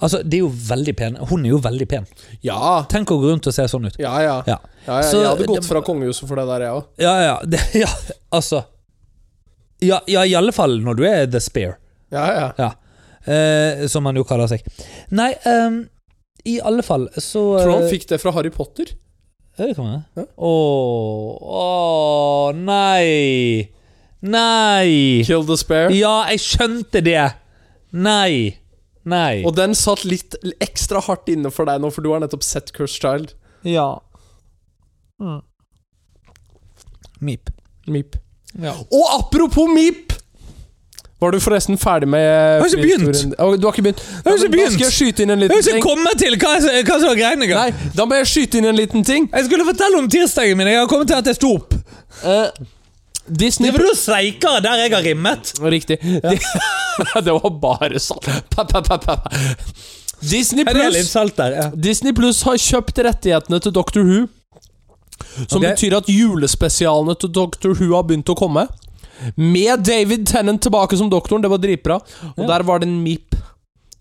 [SPEAKER 2] Altså, de er jo veldig pene. Hun er jo veldig pen.
[SPEAKER 1] Ja,
[SPEAKER 2] Tenk å gå rundt og se sånn ut.
[SPEAKER 1] ja. ja.
[SPEAKER 2] Ja,
[SPEAKER 1] Ja, ja,
[SPEAKER 2] Så
[SPEAKER 1] jeg hadde gått
[SPEAKER 2] det-
[SPEAKER 1] fra kongehuset for det der, jeg òg.
[SPEAKER 2] ja, ja, det, ja altså ja, ja, i alle fall når du er The Spear,
[SPEAKER 1] Ja, ja.
[SPEAKER 2] eh, som han jo kaller seg. Nei, ehm, i alle fall så
[SPEAKER 1] Tror du han
[SPEAKER 2] eh,
[SPEAKER 1] fikk det fra Harry Potter?
[SPEAKER 2] Ja, det kan være.
[SPEAKER 1] Ja.
[SPEAKER 2] Åh, åh, nei! Nei!
[SPEAKER 1] Kill the Spare.
[SPEAKER 2] Ja, jeg skjønte det! Nei. Nei.
[SPEAKER 1] Og den satt litt ekstra hardt inne for deg nå, for du har nettopp sett Curse Child.
[SPEAKER 2] Ja. Mip.
[SPEAKER 1] Meep.
[SPEAKER 2] Ja.
[SPEAKER 1] Og apropos Meep! Var du forresten ferdig med Jeg
[SPEAKER 2] har ikke begynt.
[SPEAKER 1] Du har ikke begynt?
[SPEAKER 2] har ikke
[SPEAKER 1] Nei, men
[SPEAKER 2] begynt.
[SPEAKER 1] Da skal jeg skyte inn en
[SPEAKER 2] Jeg
[SPEAKER 1] liten
[SPEAKER 2] har ikke
[SPEAKER 1] ting.
[SPEAKER 2] kommet til hva, hva som var greiene engang.
[SPEAKER 1] Nei, da må jeg skyte inn en liten ting.
[SPEAKER 2] Jeg skulle fortelle om tirsdagen min. Jeg har kommet til at jeg sto opp.
[SPEAKER 1] Eh, Disney
[SPEAKER 2] Driver du og streiker der jeg har rimmet?
[SPEAKER 1] Riktig. De, det var bare sånn. Pa, pa, pa, pa. Disney
[SPEAKER 2] Er det litt
[SPEAKER 1] Plus
[SPEAKER 2] salt der? Ja.
[SPEAKER 1] Disney Plus har kjøpt rettighetene til Doctor Who. Som
[SPEAKER 2] Ok.
[SPEAKER 1] betyr at julespesialene til Doctor Who har begynt å komme. Med David Tennant tilbake som doktoren, det var dritbra. Og
[SPEAKER 2] Ja.
[SPEAKER 1] der var det en meep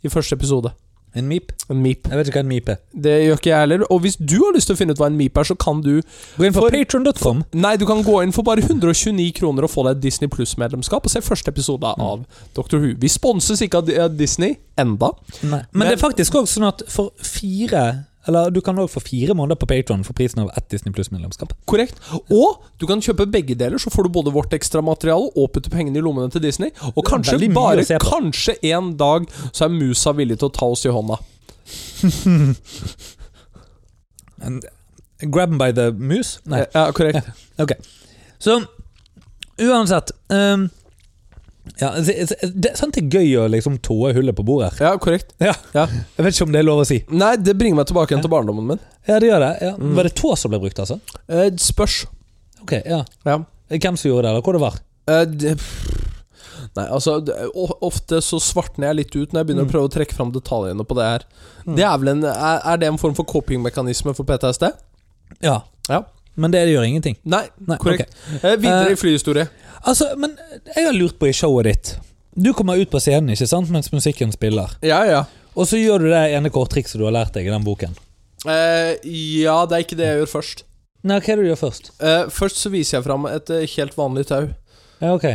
[SPEAKER 1] i første episode.
[SPEAKER 2] En mip?
[SPEAKER 1] En meep.
[SPEAKER 2] Jeg vet ikke hva en mip er.
[SPEAKER 1] Det gjør ikke jeg heller. Og hvis du har lyst til å finne ut hva en meep er, så kan du
[SPEAKER 2] Gå inn på
[SPEAKER 1] For-
[SPEAKER 2] patron.com.
[SPEAKER 1] Nei, du kan gå inn for bare 129 kroner og få deg et Disney Plus-medlemskap og se første episode av
[SPEAKER 2] Mm.
[SPEAKER 1] Doctor Who. Vi sponses ikke av eh, Disney enda.
[SPEAKER 2] Men, det er faktisk også sånn at for fire Eller du kan også få fire måneder på Patron for prisen av ett Disney Pluss-medlemskap.
[SPEAKER 1] Korrekt. Og du kan kjøpe begge deler, så får du både vårt ekstramateriale og putte pengene i lommene til Disney. Og kanskje
[SPEAKER 2] veldig mye
[SPEAKER 1] bare
[SPEAKER 2] å se på.
[SPEAKER 1] kanskje en dag så er musa villig til å ta oss i hånda.
[SPEAKER 2] En- Grab 'em by the moose? Nei.
[SPEAKER 1] Ja, korrekt.
[SPEAKER 2] Ok. Så uansett um, ja, det, det, sant det er gøy å liksom tåe hullet på bordet her.
[SPEAKER 1] Ja, korrekt.
[SPEAKER 2] Jeg vet ikke om det er lov å si.
[SPEAKER 1] Nei, det bringer meg tilbake igjen til barndommen min.
[SPEAKER 2] Ja, det gjør det. Ja.
[SPEAKER 1] Mm.
[SPEAKER 2] Var det tå som ble brukt, altså?
[SPEAKER 1] Eh, spørs.
[SPEAKER 2] Ok, ja.
[SPEAKER 1] Ja.
[SPEAKER 2] Eh, Hvem som gjorde det, eller hvor det var?
[SPEAKER 1] Eh, det, nei, altså det, o- Ofte så svartner jeg litt ut når jeg begynner
[SPEAKER 2] Mm.
[SPEAKER 1] å prøve å trekke fram detaljene på det her.
[SPEAKER 2] Mm.
[SPEAKER 1] Det Er vel en Er er det en form for copingmekanisme for PTSD?
[SPEAKER 2] Ja.
[SPEAKER 1] Ja.
[SPEAKER 2] Men det, gjør ingenting.
[SPEAKER 1] Nei,
[SPEAKER 2] Nei,
[SPEAKER 1] korrekt.
[SPEAKER 2] ok.
[SPEAKER 1] Eh, videre
[SPEAKER 2] Eh,
[SPEAKER 1] i flyhistorie.
[SPEAKER 2] Altså, men jeg har lurt på i showet ditt. Du kommer ut på scenen ikke sant, mens musikken spiller,
[SPEAKER 1] Eh, Ja, ja.
[SPEAKER 2] og så gjør du det ene korttrikset du har lært deg i den boken.
[SPEAKER 1] Eh, ja, det er ikke det jeg gjør først.
[SPEAKER 2] Nei, hva er det du gjør først?
[SPEAKER 1] Eh, først så viser jeg fram et eh, helt vanlig tau.
[SPEAKER 2] Ja, ok.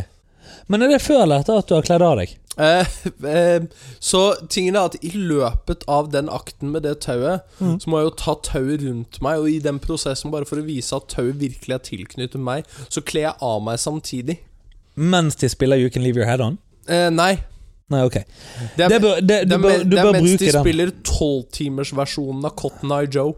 [SPEAKER 2] Men er det før eller etter at du har kledd av deg?
[SPEAKER 1] Eh, eh, så tingen er at i løpet av den akten med det tauet,
[SPEAKER 2] Mm.
[SPEAKER 1] så må jeg jo ta tauet rundt meg, og i den prosessen, bare for å vise at tauet virkelig er tilknyttet meg, så kler jeg av meg samtidig.
[SPEAKER 2] Mens de spiller You Can Leave Your Head On?
[SPEAKER 1] Eh, nei.
[SPEAKER 2] Nei, ok.
[SPEAKER 1] Det er,
[SPEAKER 2] Det bør, det,
[SPEAKER 1] det
[SPEAKER 2] du
[SPEAKER 1] er,
[SPEAKER 2] bør,
[SPEAKER 1] men-
[SPEAKER 2] du
[SPEAKER 1] det er
[SPEAKER 2] bør
[SPEAKER 1] mens de
[SPEAKER 2] bruke den.
[SPEAKER 1] spiller tolvtimersversjonen av Cotton Eye Joe.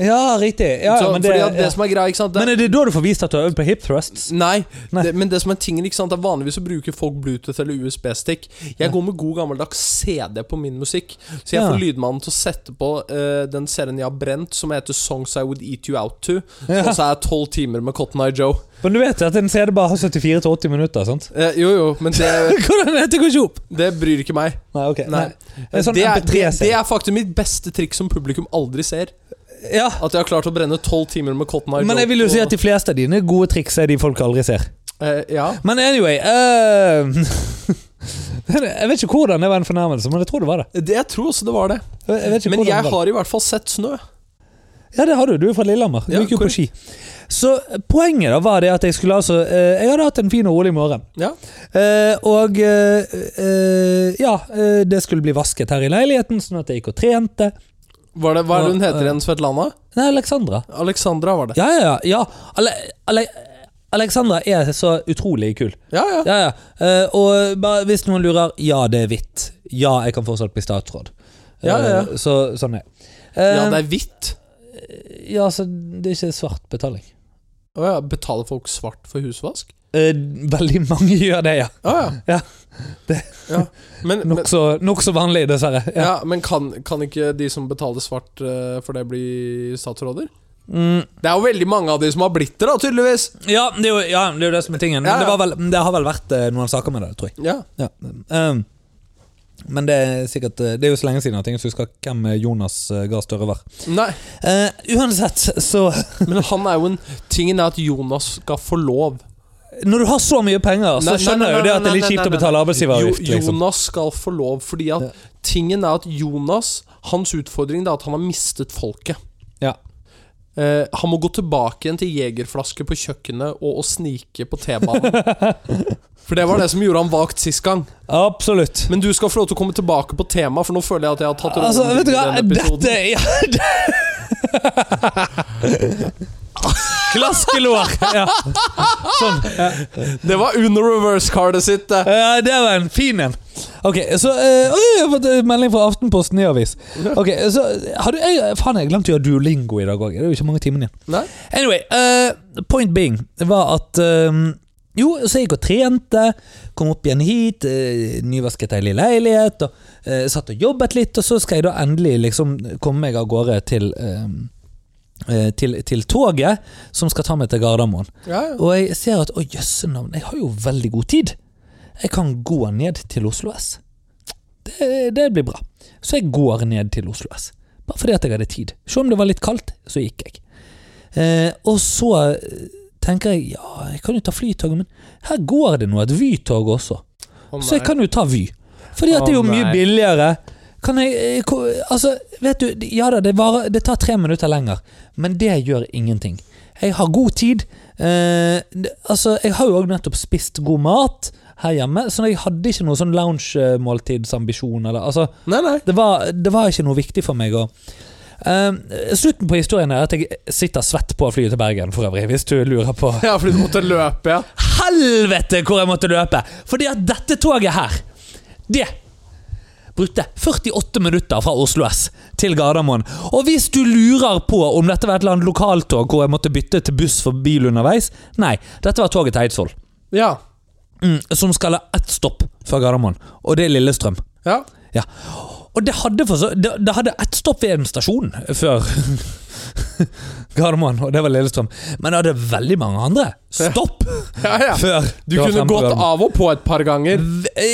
[SPEAKER 2] Ja, riktig. Ja,
[SPEAKER 1] så,
[SPEAKER 2] men, det,
[SPEAKER 1] fordi at det
[SPEAKER 2] ja.
[SPEAKER 1] som er greia, ikke sant det,
[SPEAKER 2] men er det da du får vist at du har øvd på hip thrusts?
[SPEAKER 1] Nei,
[SPEAKER 2] Nei.
[SPEAKER 1] Det, men det som er tingen, ikke sant, er vanligvis så bruker folk Bluetooth eller USB-stick. Jeg går med god gammeldags CD på min musikk, så jeg
[SPEAKER 2] Ja.
[SPEAKER 1] får lydmannen til å sette på eh, den serien jeg har brent, som heter Songs I Would Eat You Out To.
[SPEAKER 2] Ja.
[SPEAKER 1] Og så er jeg tolv timer med Cotton Eye Joe.
[SPEAKER 2] Men du vet at en CD bare har 74 til 80 minutter, sant?
[SPEAKER 1] Eh, jo, jo, men det,
[SPEAKER 2] Hvordan er det går ikke opp?
[SPEAKER 1] det bryr ikke meg.
[SPEAKER 2] Nei, ok. Nei.
[SPEAKER 1] Nei.
[SPEAKER 2] En sånn
[SPEAKER 1] det, er, det,
[SPEAKER 2] MP3
[SPEAKER 1] det
[SPEAKER 2] CD.
[SPEAKER 1] er faktisk mitt beste trikk som publikum aldri ser.
[SPEAKER 2] Ja.
[SPEAKER 1] At jeg har klart å brenne tolv timer med Cotton Eye Joe.
[SPEAKER 2] Men jeg vil jo
[SPEAKER 1] på-
[SPEAKER 2] si at de fleste av dine gode triks er de folk aldri ser.
[SPEAKER 1] eh, Ja.
[SPEAKER 2] Men anyway eh, Jeg vet ikke hvordan det var en fornærmelse, men jeg tror det var det.
[SPEAKER 1] Det, jeg tror også det var det.
[SPEAKER 2] Jeg vet ikke
[SPEAKER 1] Men
[SPEAKER 2] hvordan det
[SPEAKER 1] jeg
[SPEAKER 2] var det.
[SPEAKER 1] har i hvert fall sett snø.
[SPEAKER 2] Ja, det har du. Du er fra Lillehammer. Du
[SPEAKER 1] Ja,
[SPEAKER 2] gikk jo på
[SPEAKER 1] korrekt.
[SPEAKER 2] ski. Så eh, poenget da var det at jeg skulle altså eh, Jeg hadde hatt en fin og rolig morgen.
[SPEAKER 1] Ja.
[SPEAKER 2] Eh, og eh, eh, ja, eh, det skulle bli vasket her i leiligheten, sånn at jeg gikk og trente.
[SPEAKER 1] Var det, hva er det hun
[SPEAKER 2] Ja,
[SPEAKER 1] heter
[SPEAKER 2] eh.
[SPEAKER 1] igjen, Svetlana?
[SPEAKER 2] Nei, Alexandra.
[SPEAKER 1] Alexandra var det.
[SPEAKER 2] Ja, ja, ja. ja. Ale Ale Alexandra er så utrolig kul.
[SPEAKER 1] Ja, ja.
[SPEAKER 2] Ja, ja. Eh, og bare hvis noen lurer Ja, det er hvitt. Ja, jeg kan fortsatt bli statsråd. Eh,
[SPEAKER 1] Ja, ja, ja.
[SPEAKER 2] Så sånn er det.
[SPEAKER 1] Ja,
[SPEAKER 2] Eh,
[SPEAKER 1] det er hvitt.
[SPEAKER 2] ja, så det er ikke svart betaling.
[SPEAKER 1] Å ja, betaler folk svart for husvask?
[SPEAKER 2] Eh, veldig mange gjør det, ja.
[SPEAKER 1] Å ja.
[SPEAKER 2] Ja.
[SPEAKER 1] Det. ja. Men, men,
[SPEAKER 2] Nokså nok så vanlig, dessverre. Ja.
[SPEAKER 1] ja, men kan, kan ikke de som betaler svart eh, for det, bli statsråder?
[SPEAKER 2] Mm,
[SPEAKER 1] Det er jo veldig mange av de som har blitt det, da, tydeligvis.
[SPEAKER 2] ja, det er jo, ja, det er jo det som er tingen. Men
[SPEAKER 1] Ja, ja.
[SPEAKER 2] Det, var vel, det har vel vært eh, noen saker med det, tror jeg.
[SPEAKER 1] Ja.
[SPEAKER 2] Ja. Um, men det er sikkert eh, Det er jo så lenge siden at jeg ikke husker hvem eh, Jonas eh, Gahr Støre var.
[SPEAKER 1] Nei,
[SPEAKER 2] Eh, uansett, så
[SPEAKER 1] men han er jo en Tingen er at Jonas skal få lov.
[SPEAKER 2] Når du har så mye penger,
[SPEAKER 1] Nei,
[SPEAKER 2] så
[SPEAKER 1] nei,
[SPEAKER 2] skjønner jeg
[SPEAKER 1] nei,
[SPEAKER 2] jo det at det er
[SPEAKER 1] nei,
[SPEAKER 2] litt
[SPEAKER 1] nei,
[SPEAKER 2] kjipt å
[SPEAKER 1] nei,
[SPEAKER 2] betale
[SPEAKER 1] Jo,
[SPEAKER 2] arbeidsgiveravgift. Liksom.
[SPEAKER 1] Jonas skal få lov, fordi at
[SPEAKER 2] Ja.
[SPEAKER 1] Tingen er at Jonas Hans utfordring det er at han har mistet folket.
[SPEAKER 2] Ja.
[SPEAKER 1] Eh, han må gå tilbake igjen til jegerflaske på kjøkkenet og å snike på T-banen. For det var det som gjorde han vagt sist gang.
[SPEAKER 2] Absolutt.
[SPEAKER 1] Men du skal få lov til å komme tilbake på temaet, for nå føler jeg at jeg har tatt
[SPEAKER 2] Altså,
[SPEAKER 1] rollen
[SPEAKER 2] vet du
[SPEAKER 1] i
[SPEAKER 2] hva,
[SPEAKER 1] den episoden.
[SPEAKER 2] dette ja, det- Klaskelår! Ja.
[SPEAKER 1] Det var under reverse cardet sitt. eh. det.
[SPEAKER 2] Ja, det var en fin en. Ok, så eh, Oi, jeg har fått eh, melding fra Aftenposten i avis. Ok, så har du, jeg, Faen, jeg glemte å gjøre duolingo i dag òg. Det er jo ikke mange timene igjen.
[SPEAKER 1] Nei?
[SPEAKER 2] Anyway, eh, point being var at eh, Jo, så jeg gikk og trente. Kom opp igjen hit. Uh, nyvasket ei lille leilighet. Og, eh, satt og jobbet litt, og så skal jeg da endelig liksom komme meg av gårde til eh, eh, til, til toget som skal ta meg til Gardermoen.
[SPEAKER 1] Ja, ja.
[SPEAKER 2] Og jeg ser at å jøsse navn, jeg har jo veldig god tid. Jeg kan gå ned til Oslo S. Det, det blir bra. Så jeg går ned til Oslo S. Bare fordi at jeg hadde tid. Se om det var litt kaldt, så gikk jeg. Eh, og så eh, tenker jeg ja, jeg kan jo ta flytoget, men her går det nå et Vy-tog også.
[SPEAKER 1] Å,
[SPEAKER 2] Så jeg
[SPEAKER 1] nei.
[SPEAKER 2] kan jo ta Vy. Fordi at det er jo
[SPEAKER 1] Å,
[SPEAKER 2] mye
[SPEAKER 1] nei.
[SPEAKER 2] billigere. Kan jeg eh, ko- Altså, vet du Ja da, det, varer, det tar tre minutter lenger, men det gjør ingenting. Jeg har god tid. Eh, det- altså, jeg har jo òg nettopp spist god mat her hjemme, så jeg hadde ikke noen sånn lounge-måltidsambisjon. Eller, altså,
[SPEAKER 1] Nei, nei.
[SPEAKER 2] det var, det var ikke noe viktig for meg. å Eh, slutten på historien er at jeg sitter svett på flyet til Bergen, for øvrig, hvis du lurer på
[SPEAKER 1] Ja, fordi du måtte løpe, ja.
[SPEAKER 2] helvete hvor jeg måtte løpe! Fordi at dette toget her, det brukte 48 minutter fra Oslo S til Gardermoen. Og hvis du lurer på om dette var et eller annet lokaltog hvor jeg måtte bytte til buss for bil underveis Nei, dette var toget til Eidsvoll,
[SPEAKER 1] Ja.
[SPEAKER 2] mm, som skal ha ett stopp før Gardermoen. Og det er Lillestrøm.
[SPEAKER 1] Ja.
[SPEAKER 2] Ja. Og det hadde, for så, det, det hadde ett stopp ved en stasjon før Gardermoen, og det var Lillestrøm. Men det hadde veldig mange andre stopp
[SPEAKER 1] ja, ja.
[SPEAKER 2] før.
[SPEAKER 1] Du
[SPEAKER 2] det var
[SPEAKER 1] kunne
[SPEAKER 2] frem
[SPEAKER 1] gått
[SPEAKER 2] Gardermoen.
[SPEAKER 1] av og på et par ganger.
[SPEAKER 2] V-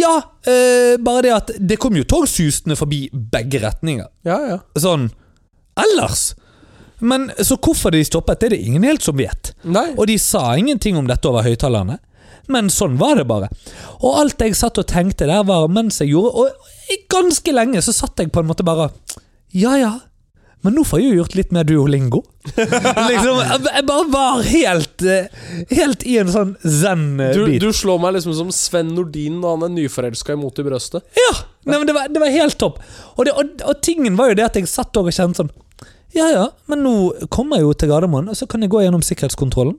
[SPEAKER 2] Ja, eh, bare det at det kom jo tog susende forbi begge retninger.
[SPEAKER 1] Ja, ja.
[SPEAKER 2] Sånn ellers. Men så hvorfor de stoppet, det er det ingen helt som vet.
[SPEAKER 1] Nei.
[SPEAKER 2] Og de sa ingenting om dette over høyttalerne. Men sånn var det bare. Og alt jeg satt og tenkte der, var mens jeg gjorde Og i ganske lenge så satt jeg på en måte bare Ja ja, men nå får jeg jo gjort litt mer duolingo. liksom, jeg jeg bare var helt eh, Helt i en sånn
[SPEAKER 1] Du,
[SPEAKER 2] zen-bit.
[SPEAKER 1] du slår meg liksom som Sven Nordin når han er nyforelska i Mot i brøstet.
[SPEAKER 2] Ja! Nei, men det var, det var helt topp. Og, det, og, og tingen var jo det at jeg satt og kjente sånn Ja ja, men nå kommer jeg jo til Gardermoen, og så kan jeg gå gjennom sikkerhetskontrollen.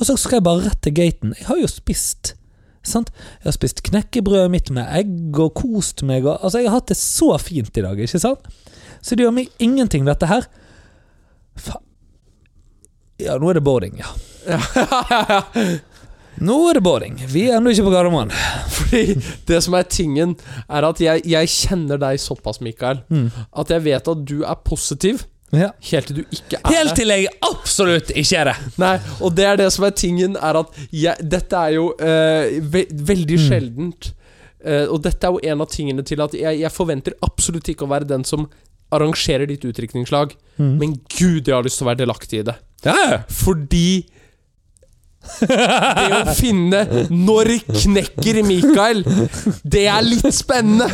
[SPEAKER 2] Og så skal jeg bare rett til gaten. Jeg har jo spist. Sant? Jeg har spist knekkebrødet mitt med egg og kost meg og Altså, jeg har hatt det så fint i dag, ikke sant? Så det gjør meg ingenting, dette her. Faen. Ja, nå er det boarding, ja. Nå er det boarding. Vi er ennå ikke på Gardermoen.
[SPEAKER 1] Fordi det som er tingen, er at jeg, jeg kjenner deg såpass, Mikael,
[SPEAKER 2] Mm.
[SPEAKER 1] at jeg vet at du er positiv
[SPEAKER 2] Ja.
[SPEAKER 1] helt til du ikke er
[SPEAKER 2] Helt til jeg absolutt ikke er det.
[SPEAKER 1] Nei, og det er det som er tingen, er at jeg, dette er jo eh, ve veldig
[SPEAKER 2] Mm.
[SPEAKER 1] sjeldent. Eh, og dette er jo en av tingene til at jeg, jeg forventer absolutt ikke å være den som arrangerer ditt utdrikningslag,
[SPEAKER 2] Mm.
[SPEAKER 1] men gud, jeg har lyst til å være delaktig i det.
[SPEAKER 2] Ja, ja.
[SPEAKER 1] Fordi det å finne når knekker Mikael, det er litt spennende.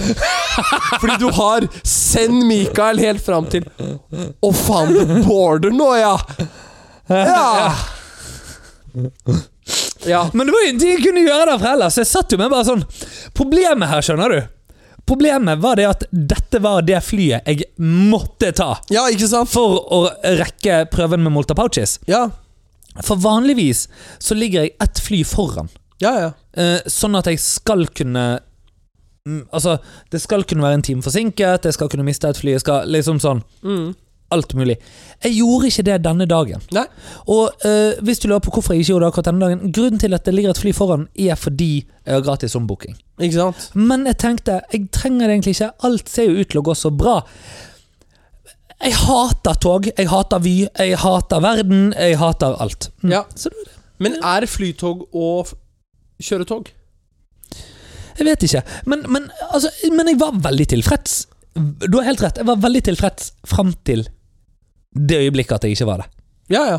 [SPEAKER 1] Fordi du har send Mikael helt fram til Å, faen, det border nå, ja! Ja. ja.
[SPEAKER 2] Men det var jo ingenting jeg kunne gjøre der fra heller, så jeg satt jo med bare sånn Problemet her, skjønner du, Problemet var det at dette var det flyet jeg måtte ta
[SPEAKER 1] Ja, ikke sant?
[SPEAKER 2] for å rekke prøven med Molta Pouches.
[SPEAKER 1] Ja,
[SPEAKER 2] For vanligvis så ligger jeg ett fly foran,
[SPEAKER 1] ja, ja.
[SPEAKER 2] eh, sånn at jeg skal kunne Mm, Altså, det skal kunne være en time forsinket, jeg skal kunne miste et fly, jeg skal liksom sånn
[SPEAKER 1] Mm.
[SPEAKER 2] Alt mulig. Jeg gjorde ikke det denne dagen.
[SPEAKER 1] Nei.
[SPEAKER 2] Og eh, hvis du lurer på hvorfor jeg ikke gjorde det akkurat denne dagen Grunnen til at det ligger et fly foran, er fordi jeg har gratis ombooking.
[SPEAKER 1] Ikke sant?
[SPEAKER 2] Men jeg tenkte, jeg trenger det egentlig ikke. Alt ser jo ut til å gå så bra. Jeg hater tog, jeg hater Vy, jeg hater verden, jeg hater alt. Mm.
[SPEAKER 1] Ja.
[SPEAKER 2] Så det var det.
[SPEAKER 1] Men er flytog å f- kjøre tog?
[SPEAKER 2] Jeg vet ikke. Men, men, altså, men jeg var veldig tilfreds. Du har helt rett, jeg var veldig tilfreds fram til det øyeblikket at jeg ikke var det.
[SPEAKER 1] Ja, ja.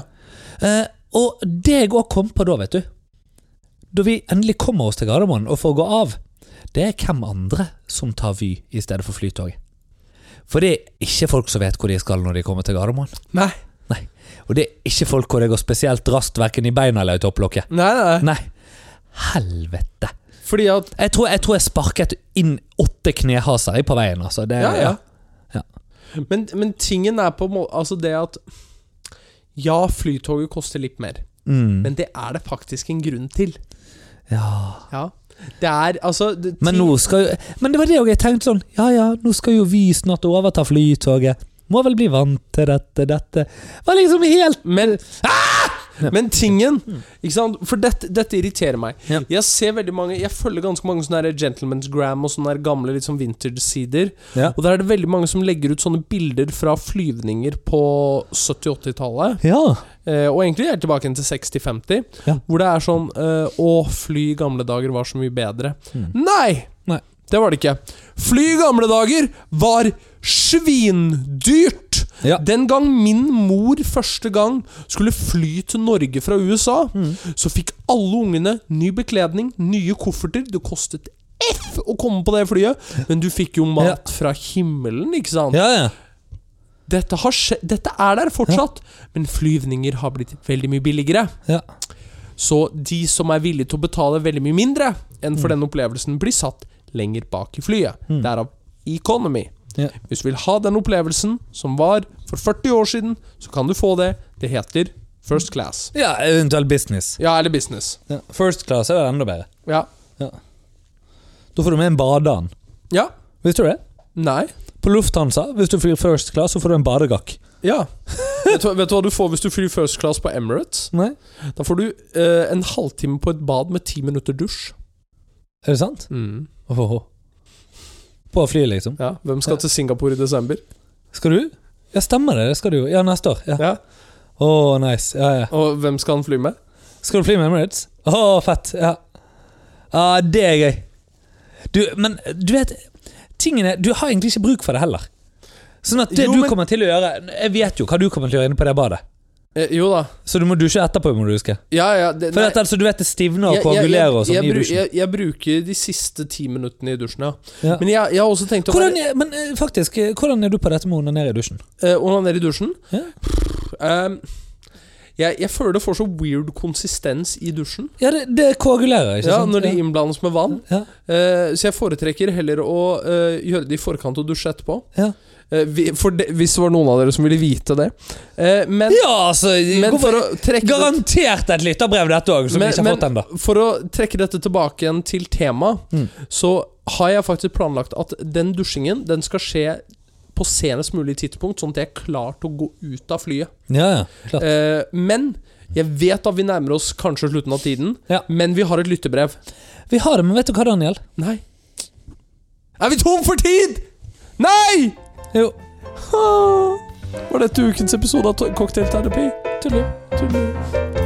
[SPEAKER 2] Eh, og det jeg òg kom på da, vet du Da vi endelig kommer oss til Gardermoen og får gå av, det er hvem andre som tar Vy i stedet for Flytoget. For det er ikke folk som vet hvor de skal når de kommer til Gardermoen.
[SPEAKER 1] Nei.
[SPEAKER 2] Nei. Og det er ikke folk hvor det går spesielt raskt, verken i beina eller i topplokket.
[SPEAKER 1] Nei, nei,
[SPEAKER 2] Nei. Helvete.
[SPEAKER 1] nei. Fordi at
[SPEAKER 2] Jeg tror jeg, tror jeg sparket inn åtte knehaser i på veien, altså. Det,
[SPEAKER 1] Ja, ja.
[SPEAKER 2] Ja.
[SPEAKER 1] Men, men tingen er på en måte Altså det at Ja, flytoget koster litt mer,
[SPEAKER 2] Mm.
[SPEAKER 1] men det er det faktisk en grunn til.
[SPEAKER 2] ja.
[SPEAKER 1] Ja. Det er altså det,
[SPEAKER 2] Men
[SPEAKER 1] ting-
[SPEAKER 2] nå skal jo Men det var det også jeg tenkte sånn Ja ja, nå skal jo vi snart overta flytoget. Må vel bli vant til dette, dette Var liksom helt
[SPEAKER 1] men,
[SPEAKER 2] Ah!
[SPEAKER 1] men tingen Ikke sant? For dette, dette irriterer meg.
[SPEAKER 2] Mm. Ja.
[SPEAKER 1] Jeg ser veldig mange Jeg følger ganske mange sånne her Gentleman's Gram og sånne her gamle litt sånn vintage-sider.
[SPEAKER 2] Ja.
[SPEAKER 1] Og der er det veldig mange som legger ut sånne bilder fra flyvninger på 70-80-tallet.
[SPEAKER 2] Ja.
[SPEAKER 1] Eh, og egentlig helt tilbake igjen til 60-50,
[SPEAKER 2] Ja.
[SPEAKER 1] hvor det er sånn eh, Å, fly i gamle dager var så mye bedre.
[SPEAKER 2] Mm.
[SPEAKER 1] Nei!
[SPEAKER 2] Nei.
[SPEAKER 1] Det var det ikke. Fly i gamle dager var svindyrt!
[SPEAKER 2] Ja.
[SPEAKER 1] Den gang min mor første gang skulle fly til Norge fra USA,
[SPEAKER 2] Mm.
[SPEAKER 1] så fikk alle ungene ny bekledning, nye kofferter. Det kostet F å komme på det flyet, men du fikk jo mat fra himmelen, ikke sant?
[SPEAKER 2] Ja, ja.
[SPEAKER 1] Dette, har skje, dette er der fortsatt, men flyvninger har blitt veldig mye billigere.
[SPEAKER 2] ja.
[SPEAKER 1] Så de som er villige til å betale veldig mye mindre enn for den opplevelsen, blir satt lenger bak i flyet. Derav economy.
[SPEAKER 2] Ja.
[SPEAKER 1] Hvis du vil ha den opplevelsen som var for 40 år siden, så kan du få det. Det heter first class.
[SPEAKER 2] ja eventuelt business.
[SPEAKER 1] Ja, eller business.
[SPEAKER 2] Ja. First class er det enda bedre.
[SPEAKER 1] Ja.
[SPEAKER 2] Da får du med en badeand.
[SPEAKER 1] Ja.
[SPEAKER 2] Visste du det?
[SPEAKER 1] Nei.
[SPEAKER 2] På Lufthansa, hvis du flyr first class, så får du en badegakk.
[SPEAKER 1] Ja. vet, du, hva- vet du hva du får hvis du flyr first class på Emirates?
[SPEAKER 2] Nei.
[SPEAKER 1] Da får du eh, en halvtime på et bad med ti minutter dusj.
[SPEAKER 2] Er det sant?
[SPEAKER 1] Mm.
[SPEAKER 2] Åhå. På flyet, liksom.
[SPEAKER 1] Ja, Hvem skal
[SPEAKER 2] Ja.
[SPEAKER 1] til Singapore i desember?
[SPEAKER 2] Skal du? Ja, stemmer det. Det skal du jo. Ja, neste år. Ja.
[SPEAKER 1] Ja.
[SPEAKER 2] Å, nice. Ja, ja.
[SPEAKER 1] Og hvem skal han fly med?
[SPEAKER 2] Skal du fly med Emirates? Å, fett. Ja. Ja, det er gøy. Du, men du vet Tingene Du har egentlig ikke bruk for det heller. Sånn at det
[SPEAKER 1] Jo,
[SPEAKER 2] du
[SPEAKER 1] men-
[SPEAKER 2] kommer til å gjøre Jeg vet jo hva du kommer til å gjøre inne på det badet.
[SPEAKER 1] Eh, jo da.
[SPEAKER 2] Så du må dusje etterpå, må du huske.
[SPEAKER 1] Ja, ja. Det,
[SPEAKER 2] For
[SPEAKER 1] nei.
[SPEAKER 2] at, altså, du vet det stivner og
[SPEAKER 1] Jeg- jeg- jeg-
[SPEAKER 2] koagulerer og
[SPEAKER 1] jeg
[SPEAKER 2] sånn i
[SPEAKER 1] bru-
[SPEAKER 2] dusjen.
[SPEAKER 1] Jeg, jeg bruker de siste ti minuttene i dusjen, ja.
[SPEAKER 2] Ja.
[SPEAKER 1] Men jeg, jeg har også tenkt å
[SPEAKER 2] Hvordan er, men eh, faktisk, eh, hvordan er du på dette med å onanere i dusjen?
[SPEAKER 1] være eh, onanere i dusjen.
[SPEAKER 2] Ja.
[SPEAKER 1] Ehm, jeg, jeg føler det får så weird konsistens i dusjen.
[SPEAKER 2] Ja, det, det koagulerer, ikke
[SPEAKER 1] Ja,
[SPEAKER 2] sant?
[SPEAKER 1] Når de innblandes med vann.
[SPEAKER 2] Ja.
[SPEAKER 1] Eh, så jeg foretrekker heller å eh, gjøre det i forkant og dusje etterpå.
[SPEAKER 2] Ja.
[SPEAKER 1] Eh, vi, for det, hvis det var noen av dere som ville vite det. Eh, men
[SPEAKER 2] ja, altså
[SPEAKER 1] men
[SPEAKER 2] hvorfor-
[SPEAKER 1] for å trekke det
[SPEAKER 2] Garantert et lytterbrev, dette òg, som
[SPEAKER 1] Men-
[SPEAKER 2] vi ikke har
[SPEAKER 1] men-
[SPEAKER 2] fått ennå.
[SPEAKER 1] For å trekke dette tilbake igjen til temaet,
[SPEAKER 2] Mm.
[SPEAKER 1] så har jeg faktisk planlagt at den dusjingen den skal skje på senest mulig tidspunkt, sånn at jeg er klar til å gå ut av flyet.
[SPEAKER 2] Ja, ja, klart.
[SPEAKER 1] Eh, men jeg vet at vi nærmer oss kanskje slutten av tiden,
[SPEAKER 2] Ja.
[SPEAKER 1] men vi har et lyttebrev.
[SPEAKER 2] Vi har det, men vet du hva, Daniel?
[SPEAKER 1] Nei. Er vi tom for tid?! Nei!
[SPEAKER 2] Jo.
[SPEAKER 1] Ah, var dette ukens episode av To- Cocktailterapi? Tuller. Tuller.